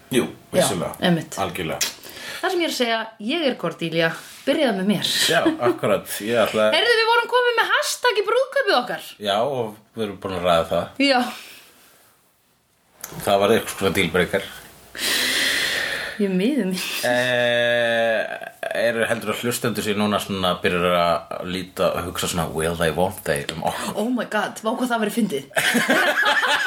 B: Jú, vissulega,
A: Já, einmitt.
B: algjörlega
A: Það sem ég er að segja, ég er Cordelia, byrjaðu með mér
B: Já, akkurat, ég ætla
A: Heyrðu, við vorum komið með hashtag í brúðkaupið okkar
B: Já, og við erum búin að ræða það
A: Já,
B: Það var eitthvað svona dealbreaker
A: ég miðum mín
B: Eh, eru heldur að hlustendur sér núna svona byrjar að líta og hugsa svona will they, won't they um okkur
A: Oh my god, vá hvað það verið fyndið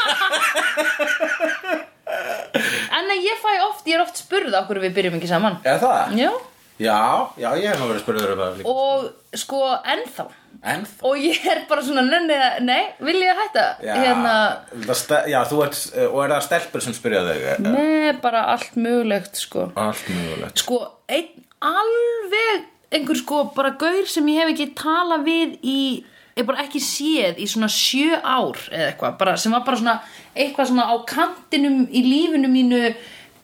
A: En nei, ég fæ oft, ég er oft spurð á hverju við byrjum ekki saman
B: Er það?
A: Já,
B: Já, já, ég hef nú verið spurður um það líka
A: og sko ennþá
B: En
A: Og ég er bara svona nennið að, nei, vil ég hætta?
B: já,
A: Hérna,
B: það ste- já, þú ert, eh, og er það stelpur sem spyrja þau eh,
A: Nei, bara allt mögulegt sko
B: Allt mögulegt
A: Sko, einn alveg einhver sko, bara gaur sem ég hef ekki talað við í ég bara ekki séð í svona sjö ár eða eitthvað, bara, sem var bara svona eitthvað svona á kantinum í lífinu mínu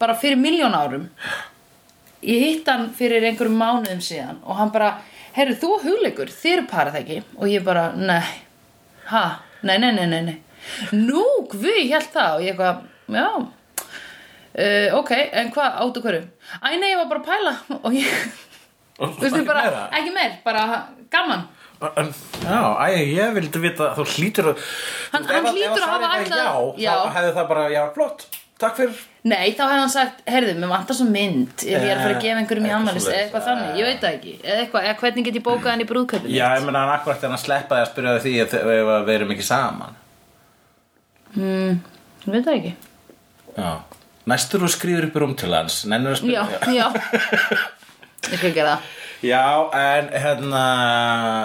A: bara fyrir miljón árum ég hitt hann fyrir einhverjum mánuðum síðan og hann bara, herru þú og hugleikur, þið eru parað ekki og ég bara, nei ha, nei, nei, nei, nei, nei nú, guð, ég held það og ég eitthvað, já, uh, ok, en hvað áttu hverju? Æ, nei, ég var bara að pæla og ég,
B: Og
A: þú veist,
B: ekki
A: bara,
B: Sko, meira?
A: ekki meir, bara gaman.
B: Bara, en- Já, æ, ég vildi vita þú hlýtur að
A: Hann-
B: Ef
A: hann
B: ef
A: hlýtur að
B: svarið
A: hafa
B: væri
A: ætlað-
B: Já,
A: já.
B: þá hefði það bara, já, flott Takk fyrir
A: Nei, þá hefði hann sagt, heyrðu, mér vantar svo mynd ef ég er að fara að gefa einhverjum í
B: Eh, Eitthvað
A: ammælis eða
B: svoleiðis.
A: eitthvað þannig, ég veit það ekki, eða eitthvað, eða hvernig get ég bókað hann í brúðköpun?
B: Já, ég meina hann akkurat er hann að sleppa því að spyrja því að þau- ef að við erum ekki saman
A: Ég veit það ekki.
B: Já. Næstur og skrifur upp í rúm til hans Nennir að
A: Já,
B: spyrja
A: já. Ég skal gera það.
B: Já, en hérna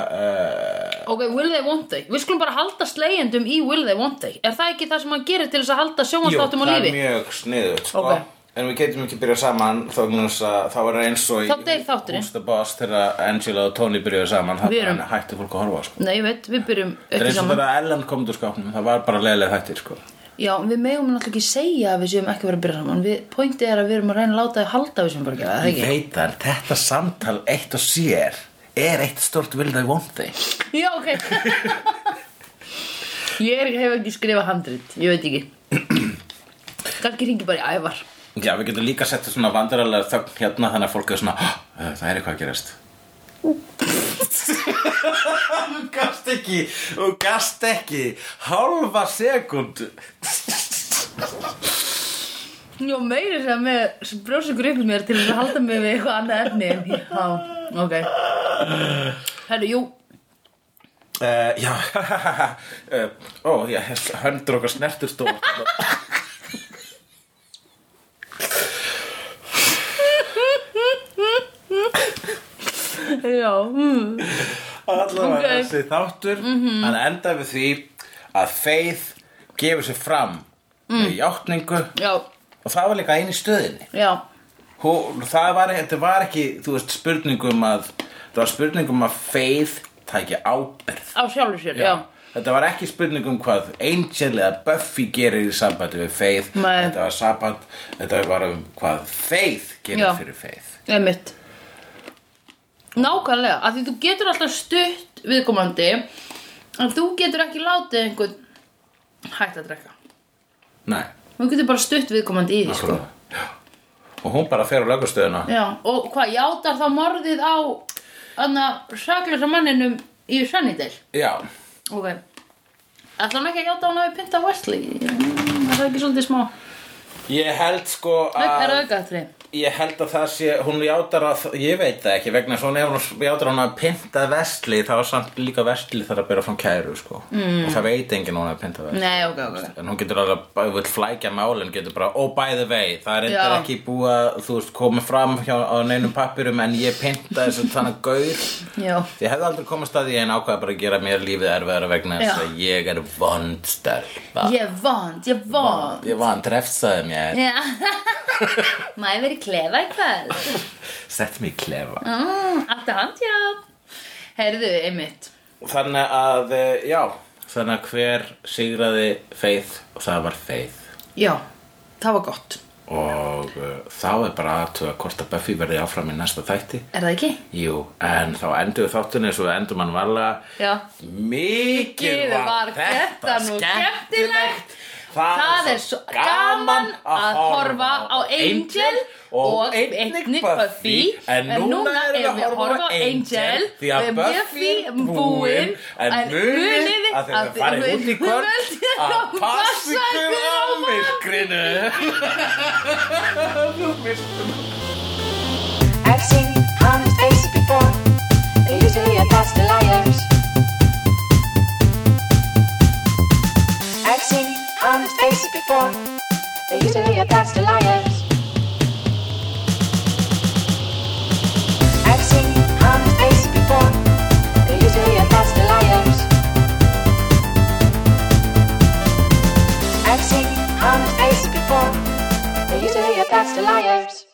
B: uh,
A: Ok, will they, won't they? Við skulum bara halda slegjendum í will they, won't they. Er það ekki það sem hann gerir til þess að halda sjómanstáttum á
B: það er
A: lífi?
B: mjög sniðut sko.
A: Ok.
B: En við getum ekki byrjað saman þá, að, þá er það eins og í
A: Þá deyr þátturinn.
B: Who's the Boss þegar Angela og Tony byrjuðu saman þá
A: Við erum-
B: bara hætti fólk að horfa sko.
A: Nei, ég veit, við byrjum
B: Það er
A: ekki
B: eins og
A: saman.
B: þegar Ellen kom út úr skápnum það var bara leiðilega þættir sko.
A: Já, en við megum náttúrulega ekki segja að við séum ekki að vera að byrja saman við, Pointið er að við erum að reyna að láta þau halda að við séum bara að gera það,
B: Ég
A: eða
B: veit það, en þetta samtal eitt og sér er eitt stort vild að von þeim
A: ekki? Já, ok Ég er, hef ekki skrifað handrit, ég veit ekki Kannski ringi bara í ævar
B: Já, við getum líka sett svona vandaralega þögn hérna þannig að fólk er svona, "Ah, það er eitthvað að gerast. þú gast ekki, þú gast ekki, hálfa sekund.
A: Já, meiri sem með brjósingur ykkur mér til þess að halda mig við eitthvað annað efni en ég, já, ok Herru, jú,
B: Uh, já, uh, ó, já, höndur okkar snertur stóð.
A: já, mm,
B: Allavega
A: Ok. Mhm.
B: þessi þáttur, hann endaði við því að Faith
A: Mm.
B: gefur sér fram með játningu
A: já,
B: og það var líka einu í stöðinni.
A: já
B: hún, það var, þetta var ekki þú veist spurningum að það var spurningum að feið tækja ábyrð
A: á sjálfur sér, já,
B: Þetta var ekki spurning um hvað Angel eða Buffy gerir í sambandi við Faith
A: Nei.
B: Þetta var samband Þetta var um hvað Faith gerir
A: Já.
B: fyrir Faith
A: einmitt nákvæmlega, af því þú getur alltaf stutt viðkomandi en þú getur ekki látið einhvern hægt að drekka
B: Nei,
A: þú getur bara stutt viðkomandi í því sko.
B: akkurat Já. Og hún bara fer á lögustöðuna
A: já, og hvað, játar þá morðið á anna saklösa manninum í Sunnydale
B: Já,
A: ok ætla hann ekki að játa að hann hafi pynta Wesley Mm, er það ekki svolítið smá
B: ég held sko
A: er
B: að
A: aukaðatri
B: Ég held að það sé, hún játar að Ég veit það ekki, vegna svona ef hún játar að hún að pynta vestli þá er samt líka vestli þar að byrja fram kæru sko. mm. og það veit enginn að hún að pynta vestli
A: nei, ok, ok
B: En hún getur alveg, ef hún vil flækja málin, getur bara, oh by the way, það er
A: Já.
B: eitthvað ekki búið að, þú veist, komið fram hjá á neinum pappirum en ég pynta þessu þannig um gaur.
A: já,
B: Ég hefði aldrei komast að því en ákvaða bara að gera mér lífið erfiðara vegna þess
A: Já.
B: að ég er vond stelpa.
A: ég er vond, ég er vond
B: Ég vant, refsaði mér,
A: Já, maður verið klefa í kvöld
B: sett mér í klefa.
A: mm, Alltaf handjátt Heyrðu, einmitt
B: Þannig að, eh, já, þannig að hver sigraði feið og það var feið.
A: Já, það var gott
B: Og uh, þá er bara aðtöða hvort að Buffy verði áfram í næsta þætti.
A: Er það ekki?
B: Jú, en þá endur þáttunni eins og við endur mann varlega
A: Já
B: Mikið
A: Mikið var
B: var
A: þetta
B: þetta
A: nú skemmtilegt.
B: skemmtilegt Það,
A: Það er svo gaman að horfa á Angel og einnig Buffy
B: En núna erum við að horfa á Angel Því að
A: við
B: Buffy er búin En munið að þegar við farið út í kvöld Að passi ykkur á myrkrinu Þú myrkrinu
C: I've seen honest faces before. They're usually a pass to liars. I've seen honest faces before. They're usually a pass to liars. I've seen honest faces before. They're usually a pass to liars. I've seen honest faces before. They're usually a pass to liars.